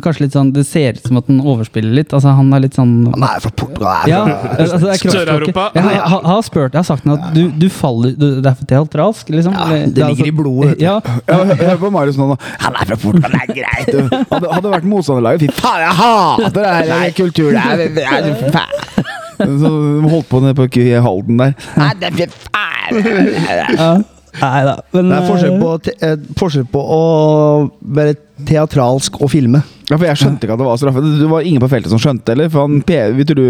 S2: kanskje litt sånn Det ser ut som at han overspiller litt. Altså, han er litt sånn
S3: Han er fra Portugal. han er
S2: ja,
S3: fra-
S2: altså det er kroppsspråket.
S4: Sør-Europa.
S2: Jeg, har- jeg, har- jeg har spurt, jeg har sagt til ham at du, du faller du, Det er for teatralsk, liksom.
S3: Ja,
S2: Eller-
S3: det
S2: er
S3: ligger i blodet, vet du.
S2: Ja,
S1: Ja, hør- Hør på Marius nå. nå. Han er fra Portugal, det er greit. du. Hadde, hadde vært motstanderlaget Fy faen, jeg hater det her det er eh, kultur det er- det er for faen. Så de holdt på nede på Ky- Halden der. Nei, det er for faen.
S2: ja. Nei da. Men
S3: Det er forskjell på, te eh, forskjell på å være teatralsk og filme.
S1: Ja, for jeg skjønte ikke at det var straffe. Det det var ingen på feltet som skjønte heller. For han P- vet du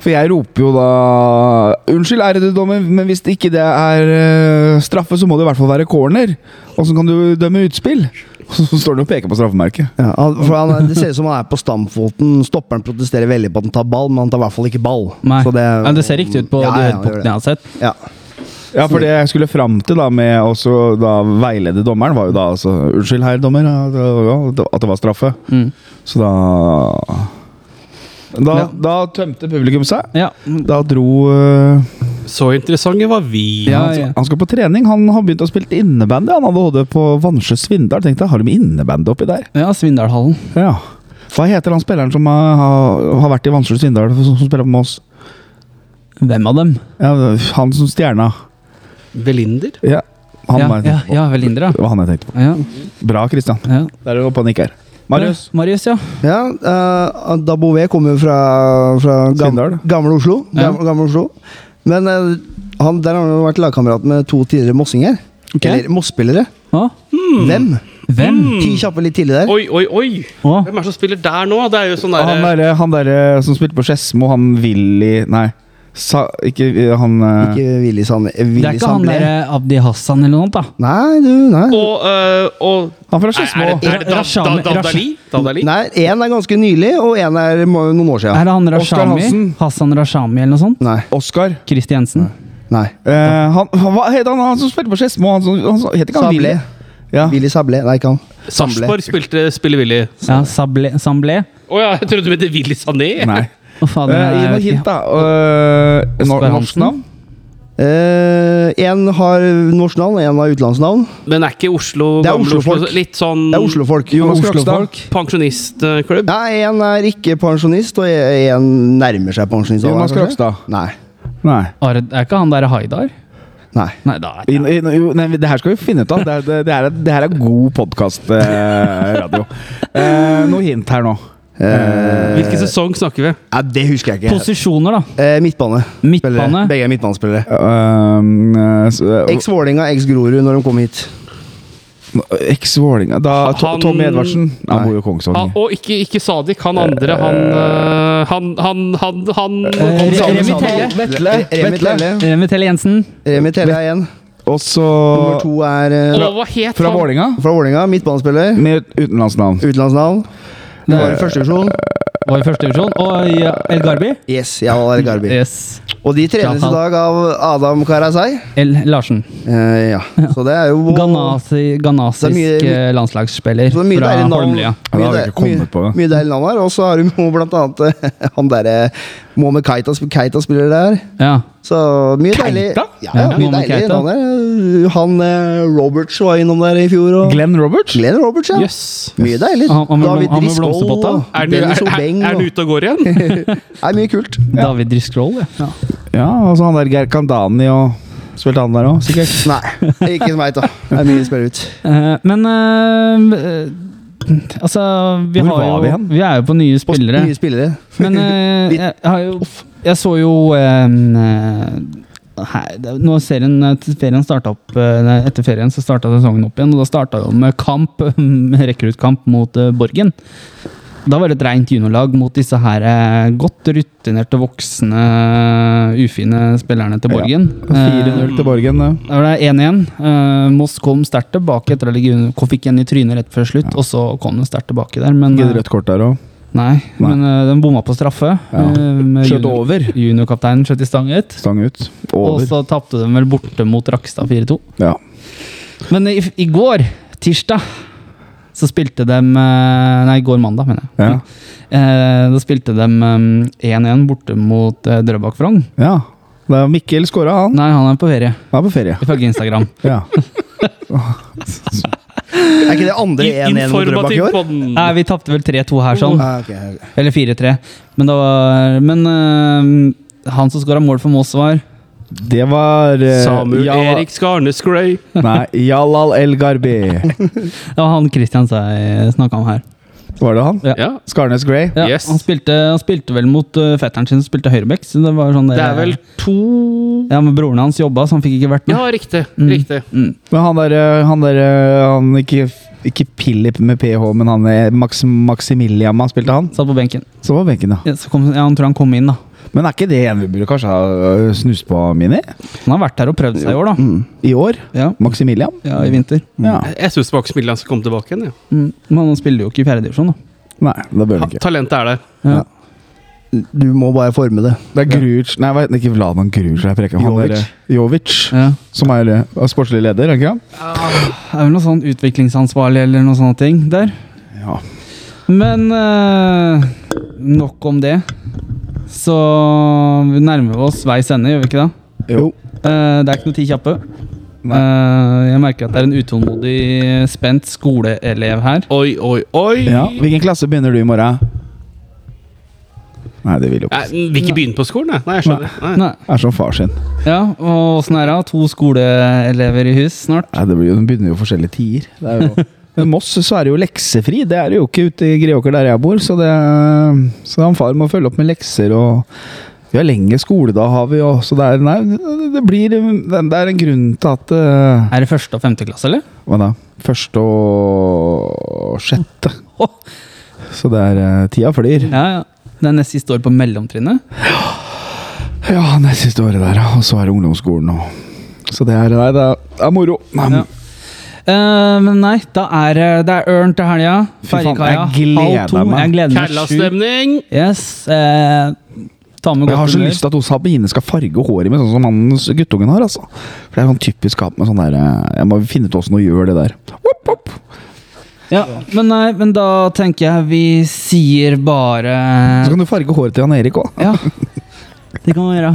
S1: For jeg roper jo da Unnskyld, ærede dommer, men hvis ikke det er eh, straffe, så må det i hvert fall være corner. Åssen kan du dømme utspill? Og så så står han og peker på straffemerket.
S3: Ja, han, for han, er- det ser ut som han er på stamfoten. Stopperen protesterer veldig på at han tar ball, men han tar i hvert fall ikke ball.
S2: Nei.
S3: Så det,
S2: Men det ser riktig ut på
S3: Ja,
S2: de
S3: ja, det gjør
S2: høydepunktene
S3: det.
S2: jeg har sett.
S3: Ja.
S1: Ja, for det jeg skulle fram til da med å så da veilede dommeren, var jo da altså Unnskyld, herr dommer, ja, det var- ja, at det var straffe.
S2: Mm.
S1: Så da Da,
S2: Ja.
S1: da tømte publikum seg.
S2: Ja.
S1: Da dro øh,
S4: Så interessante var vi.
S2: Ja,
S3: altså-
S1: han,
S2: ja.
S1: han skal på trening. Han har begynt å spille innebandy. Han hadde hodet på Vansjø Svindal. Tenkte jeg, har de innebandy oppi der?
S2: ja, Svindalhallen.
S1: Ja. Hva heter han spilleren som har, har- har vært i Vansjø Svindal, som, som spiller på Moss?
S2: Hvem av dem?
S1: Ja, han som stjerna.
S4: Belinder.
S1: Ja, han
S2: ja,
S1: var-
S2: ja, ja, Velindra.
S1: Det var han jeg tenkte på.
S2: Ja,
S1: Bra, Christian.
S2: ja.
S1: Der er du oppe og nikker. Marius.
S2: Ja, Marius, ja.
S3: Ja, uh, Da Bouvet kommer jo fra, fra
S1: Sindal.
S3: gam, gamle Oslo.
S2: Ja.
S3: Gam, gamle Oslo. Men eh, han, der har han jo vært lagkamerat med to tidligere mossinger.
S2: Ok. Hmm.
S3: Eller Moss-spillere.
S2: Å,
S3: Hvem?
S2: hvem?
S3: Ti kjappe litt tidlig der.
S4: Oi, oi, oi!
S2: Å,
S4: Hvem er det som spiller der nå? Det er jo sånn
S1: Og Han
S4: derre
S1: derre han der, som spilte på Skedsmo, han Willy Nei, sa, ikke eh, han eh,
S3: Ikke Willy Sand...
S2: det er
S3: Willy
S2: ikke han
S3: Sandblé.
S2: derre Abdi Hassan eller noe sånt, da?
S3: Nei, du, nei.
S4: Og, øh, og
S1: Han fra
S4: er,
S1: Skedsmo.
S4: er det, er det da, da,
S2: Rashami-
S4: da,
S2: Rash-
S4: Dali? Dali?
S3: Nei, Én er ganske nylig, og én er må- noen år
S2: Er
S3: siden.
S2: det han
S1: Oskar
S2: Rashami?
S1: Hansen.
S2: Hassan Rashami eller noe sånt?
S3: Nei.
S1: Oskar.
S2: Kristiansen?
S3: nei.
S1: Eh, han, han, hva het han, han som spilte på Skedsmo? Han, som- han, som- heter ikke han
S3: Sablé.
S1: Willy? Ja.
S3: Willy Sablé. Nei, ikke han.
S4: Sarpsborg spilte Spiller Willy.
S2: Ja, Sablé? Samblé?
S4: Å ja, jeg trodde du mente Willy Sané.
S1: Nei.
S2: Å, fader,
S1: Eh, Gi noen
S2: jeg vet
S1: hint,
S2: ikke.
S1: da. Eh, nor- norsk
S2: Oskar Hansen?
S1: navn?
S3: Én Eh, har norsk navn, én har utenlandsnavn.
S4: Men er ikke Oslo
S3: Det er
S4: gamle
S3: Oslo-folk.
S4: Oslo Litt sånn
S2: Hmm.
S3: Det er Oslofolk.
S1: Jonas
S3: Oslo-
S1: Krokstad.
S4: pensjonistklubb?
S3: Nei, én er ikke pensjonist, og én nærmer seg pensjonist.
S1: Jonas
S3: kanskje?
S1: Krokstad.
S3: Nei.
S1: Nei.
S2: Are- Er ikke han derre Haidar?
S3: Nei.
S2: Nei, da er
S1: I, i, jo, nei, det her skal vi finne ut av. Det, er- det, det, her, er- det her er god podkast-radio. Eh, noe hint her nå.
S4: Hvilken sesong snakker vi?
S3: Nei, Eh, det husker jeg ikke.
S2: Posisjoner, da.
S3: Eh, midtbane.
S2: Midtbane.
S3: Spillere. Begge er midtbanespillere.
S1: Eh, s- eh,
S3: Eks Vålerenga, eks Grorud når de kom hit.
S1: Eks-Vålerenga eh, Da
S4: Han-
S1: To- Tommy Edvardsen. Han
S3: Nei.
S1: bor jo i Kongsvinger.
S4: Han, Ah, og ikke, ikke Sadik, han andre. Han øh, Han, han, han, han,
S2: Eh,
S4: han
S2: Remi
S4: Samuelsen.
S2: Telle.
S1: Vetle.
S3: Remi Telle.
S2: Remi Telle Jensen.
S3: Remi Telle er én.
S1: Og så
S3: Nummer to er eh,
S4: Og hva het
S1: fra
S4: han?
S1: Vålinga
S3: fra Vålerenga, midtbanespiller.
S1: med utenlandsnavn.
S3: Utenlandsnavn. Det var i første divisjon.
S2: Var i første divisjon. Og ja, El Garbi.
S3: Yes, ja, det er Garbi.
S2: Yes.
S3: Og de trenes i dag av Adam Karazai.
S2: El Larsen.
S3: Eh, ja, så det er jo
S2: Ganasi, ganasisk
S3: Det er mye-
S2: eh, landslagsspiller
S3: Så det er mye
S2: fra
S3: deilig navn.
S2: Holmlia.
S1: Ja, da har vi
S3: deil-
S1: ikke kommet
S3: mye-
S1: på det.
S3: mye deilig navn her. Og så har du jo blant annet eh, han derre Mohammed Keita, sp- Keita spiller der.
S2: Ja.
S3: Så mye deilig
S1: Keita?
S3: Ja, ja,
S2: Ja,
S3: mye
S2: Mohammed
S3: deilig
S2: Keita.
S3: navn der. Han eh, Roberts var innom der i fjor. Og
S1: Glenn Roberts?
S3: Glenn Roberts, ja.
S4: Jøss.
S3: Mye deilig.
S2: Han- han med
S3: David
S2: blom- han med
S3: Driscoll
S2: blomsterpotta.
S3: og
S4: Er den-
S3: Dennis
S4: er-
S3: Obeng.
S4: er- er den
S3: og-
S4: ute og går igjen?
S3: Nei, mye kult.
S2: David Driscoll, ja. ja.
S1: Ja, og så han der Gerkandani og Spilte han der òg, sikkert?
S3: Nei, ikke som jeg vet, da. Det er mye å spørre ut.
S2: Eh, men eh, eh, Altså, vi
S1: Hvor
S2: har
S1: var
S2: jo,
S1: vi hen?
S2: Vi er jo på nye spillere.
S3: Nye spillere.
S2: Men eh, jeg, har jo Jeg så jo em, eh, her, det- Nå serien, eh, til ferien startet opp eh, nei, Etter ferien så starta sesongen opp igjen, og da starta jo med kamp, rekruttkamp mot eh, Borgen. Da var det et rent juniorlag mot disse her eh, godt rutinerte, voksne, eh, ufine spillerne til
S1: Ja.
S2: Borgen. Eh,
S1: 4-0 til Borgen. ja.
S2: Da var det 1-1. Eh, Moss kom sterkt tilbake etter å ligge under. Kom- Fikk en i trynet rett før slutt, og så kom de sterkt tilbake der. Men,
S1: Ikke
S2: eh,
S1: et rødt kort der òg.
S2: Nei,
S1: Nei.
S2: men eh, den bomma på straffe.
S1: Ja.
S2: eh, med
S1: Skjøt
S2: junior-
S1: over.
S2: Juniorkapteinen skjøt i stanget.
S1: Stang ut.
S2: Og
S1: Over.
S2: så tapte de vel borte mot Rakstad 4-2.
S1: Ja.
S2: Men i, i går, tirsdag, så spilte de eh, Nei, i går mandag, mener jeg.
S1: Ja.
S2: Eh, da spilte de eh, 1-1 borte mot eh, Drøbak Frogn.
S1: ja. Det er Mikkel skåra, han.
S2: Nei, han er på ferie,
S1: Han er på ferie.
S2: ifølge Instagram.
S1: Ja.
S3: Er ikke det andre 1-1 mot Drøbak i
S4: Informativ
S3: år?
S4: podden.
S2: Nei, vi tapte vel 3-2 her, sånn.
S3: Ah, ok, ok.
S2: Eller 4-3. Men, da var, men eh, han som skåra mål for Moss, var
S1: Det var eh,
S4: Samuel
S1: Jala-
S4: Erik Skarne Scray.
S1: Nei, Jalal El Garbi.
S2: Det var han Christian snakka om her.
S1: Var det han?
S2: Ja.
S4: Ja.
S1: Skarnes Grey.
S2: Ja,
S4: Yes.
S2: han, spilte, han spilte vel mot eh, fetteren sin, som spilte høyreback. Så det var sånn der-
S4: Det er vel to
S2: Ja, men broren hans jobba, så han fikk ikke vært med.
S4: Ja, riktig.
S2: Mm.
S4: Riktig.
S2: Mm.
S1: Men han derre Han derre Han ikke ikke Philip med ph, men han er Max, Maximilian han spilte han.
S2: Satt på benken.
S1: Så var benken, da.
S2: Ja, så kom, ja, han tror han kom inn, da.
S1: Men er ikke det en vi burde kanskje ha øh, snust på, Mini?
S2: Han har vært her og prøvd seg i år, da.
S1: I år?
S2: Ja,
S1: Maximilian?
S2: ja i Mm. vinter.
S1: Ja.
S4: Jeg syns Maximilian skal komme tilbake igjen. Ja.
S2: Mm. Men han spiller jo ikke i fjerdedivisjon, da.
S1: Nei, da bør vi ikke.
S4: Talentet er der.
S2: Ja.
S1: Ja.
S3: Mm. Du må bare forme det.
S1: Det er Gruc Nei, hva heter han? ikke Vladan Gruc. jeg preker. Han
S3: Jovic.
S1: derre- Jovic,
S2: Ja.
S1: som er øh, sportslig leder, er ikke han?
S2: Det er vel noe sånn utviklingsansvarlig eller noe sånne ting der.
S1: Ja.
S2: Men eh, nok om det. Så vi nærmer oss veis ende, gjør vi ikke det?
S1: Jo.
S2: Eh, det er ikke noe ti kjappe.
S1: Nei.
S2: Eh, jeg merker at det er en utålmodig, spent skoleelev her.
S4: Oi, oi, oi!
S1: Ja. Hvilken klasse begynner du i morgen? Nei, det vil jo ikke.
S4: Nei, vil ikke begynne på skolen, jeg. Nei, jeg skjønner. Nei.
S2: Nei.
S1: Det er som far sin.
S2: Ja, og åssen er det? To skoleelever i hus snart.
S1: Nei, det blir jo, Den begynner jo forskjellige tider. Det er jo, men Moss så er det jo leksefri. Det er det jo ikke ute i Greåker der jeg bor, så, det, så han far må følge opp med lekser. og Vi har lenge skole, da har vi jo Så det er, nei, det- det, blir, det er en grunn til at eh,
S2: Er det første og femte klasse, eller?
S1: Hva da? Første og sjette.
S2: Åh.
S1: Så det er eh, Tida flyr.
S2: Ja, ja. Det er nest siste år på mellomtrinnet.
S1: Ja, det er siste året der, og så er det ungdomsskolen og Så det er, nei, det er, det er moro. Nei,
S2: Ja. Eh, men nei, da er det- det er Ørn til helga.
S1: Fy faen,
S2: Ferjekaia.
S1: jeg gleder
S2: halv to.
S1: meg.
S2: Jeg gleder meg sjukt.
S4: Kærlastemning!
S2: Yes. eh, ta med
S1: Men Jeg har
S2: godt
S1: så
S2: humør.
S1: lyst til at hun Sabine skal farge håret med sånn som han guttungen har. altså For Det er sånn typisk han med sånn der eh, Jeg må finne ut åssen hun gjør det der. Wopp, wopp.
S2: Ja, men, nei, men da tenker jeg vi sier
S1: Så
S2: bare
S1: kan du farge håret til han Erik òg.
S2: Ja. Det kan man gjøre.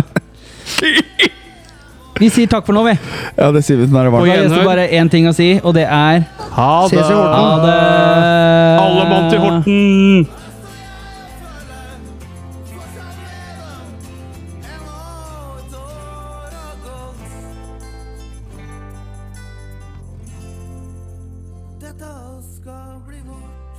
S2: Vi sier takk for nå, vi.
S1: Ja, det sier vi når det er
S2: Og
S1: varmt.
S2: jeg gjenstår bare én ting å si, og det er
S4: Ha
S1: Altså-
S3: Ses i Horten.
S2: Ha det!
S4: Alle mann til Horten!
S5: Dette skal bli vårt.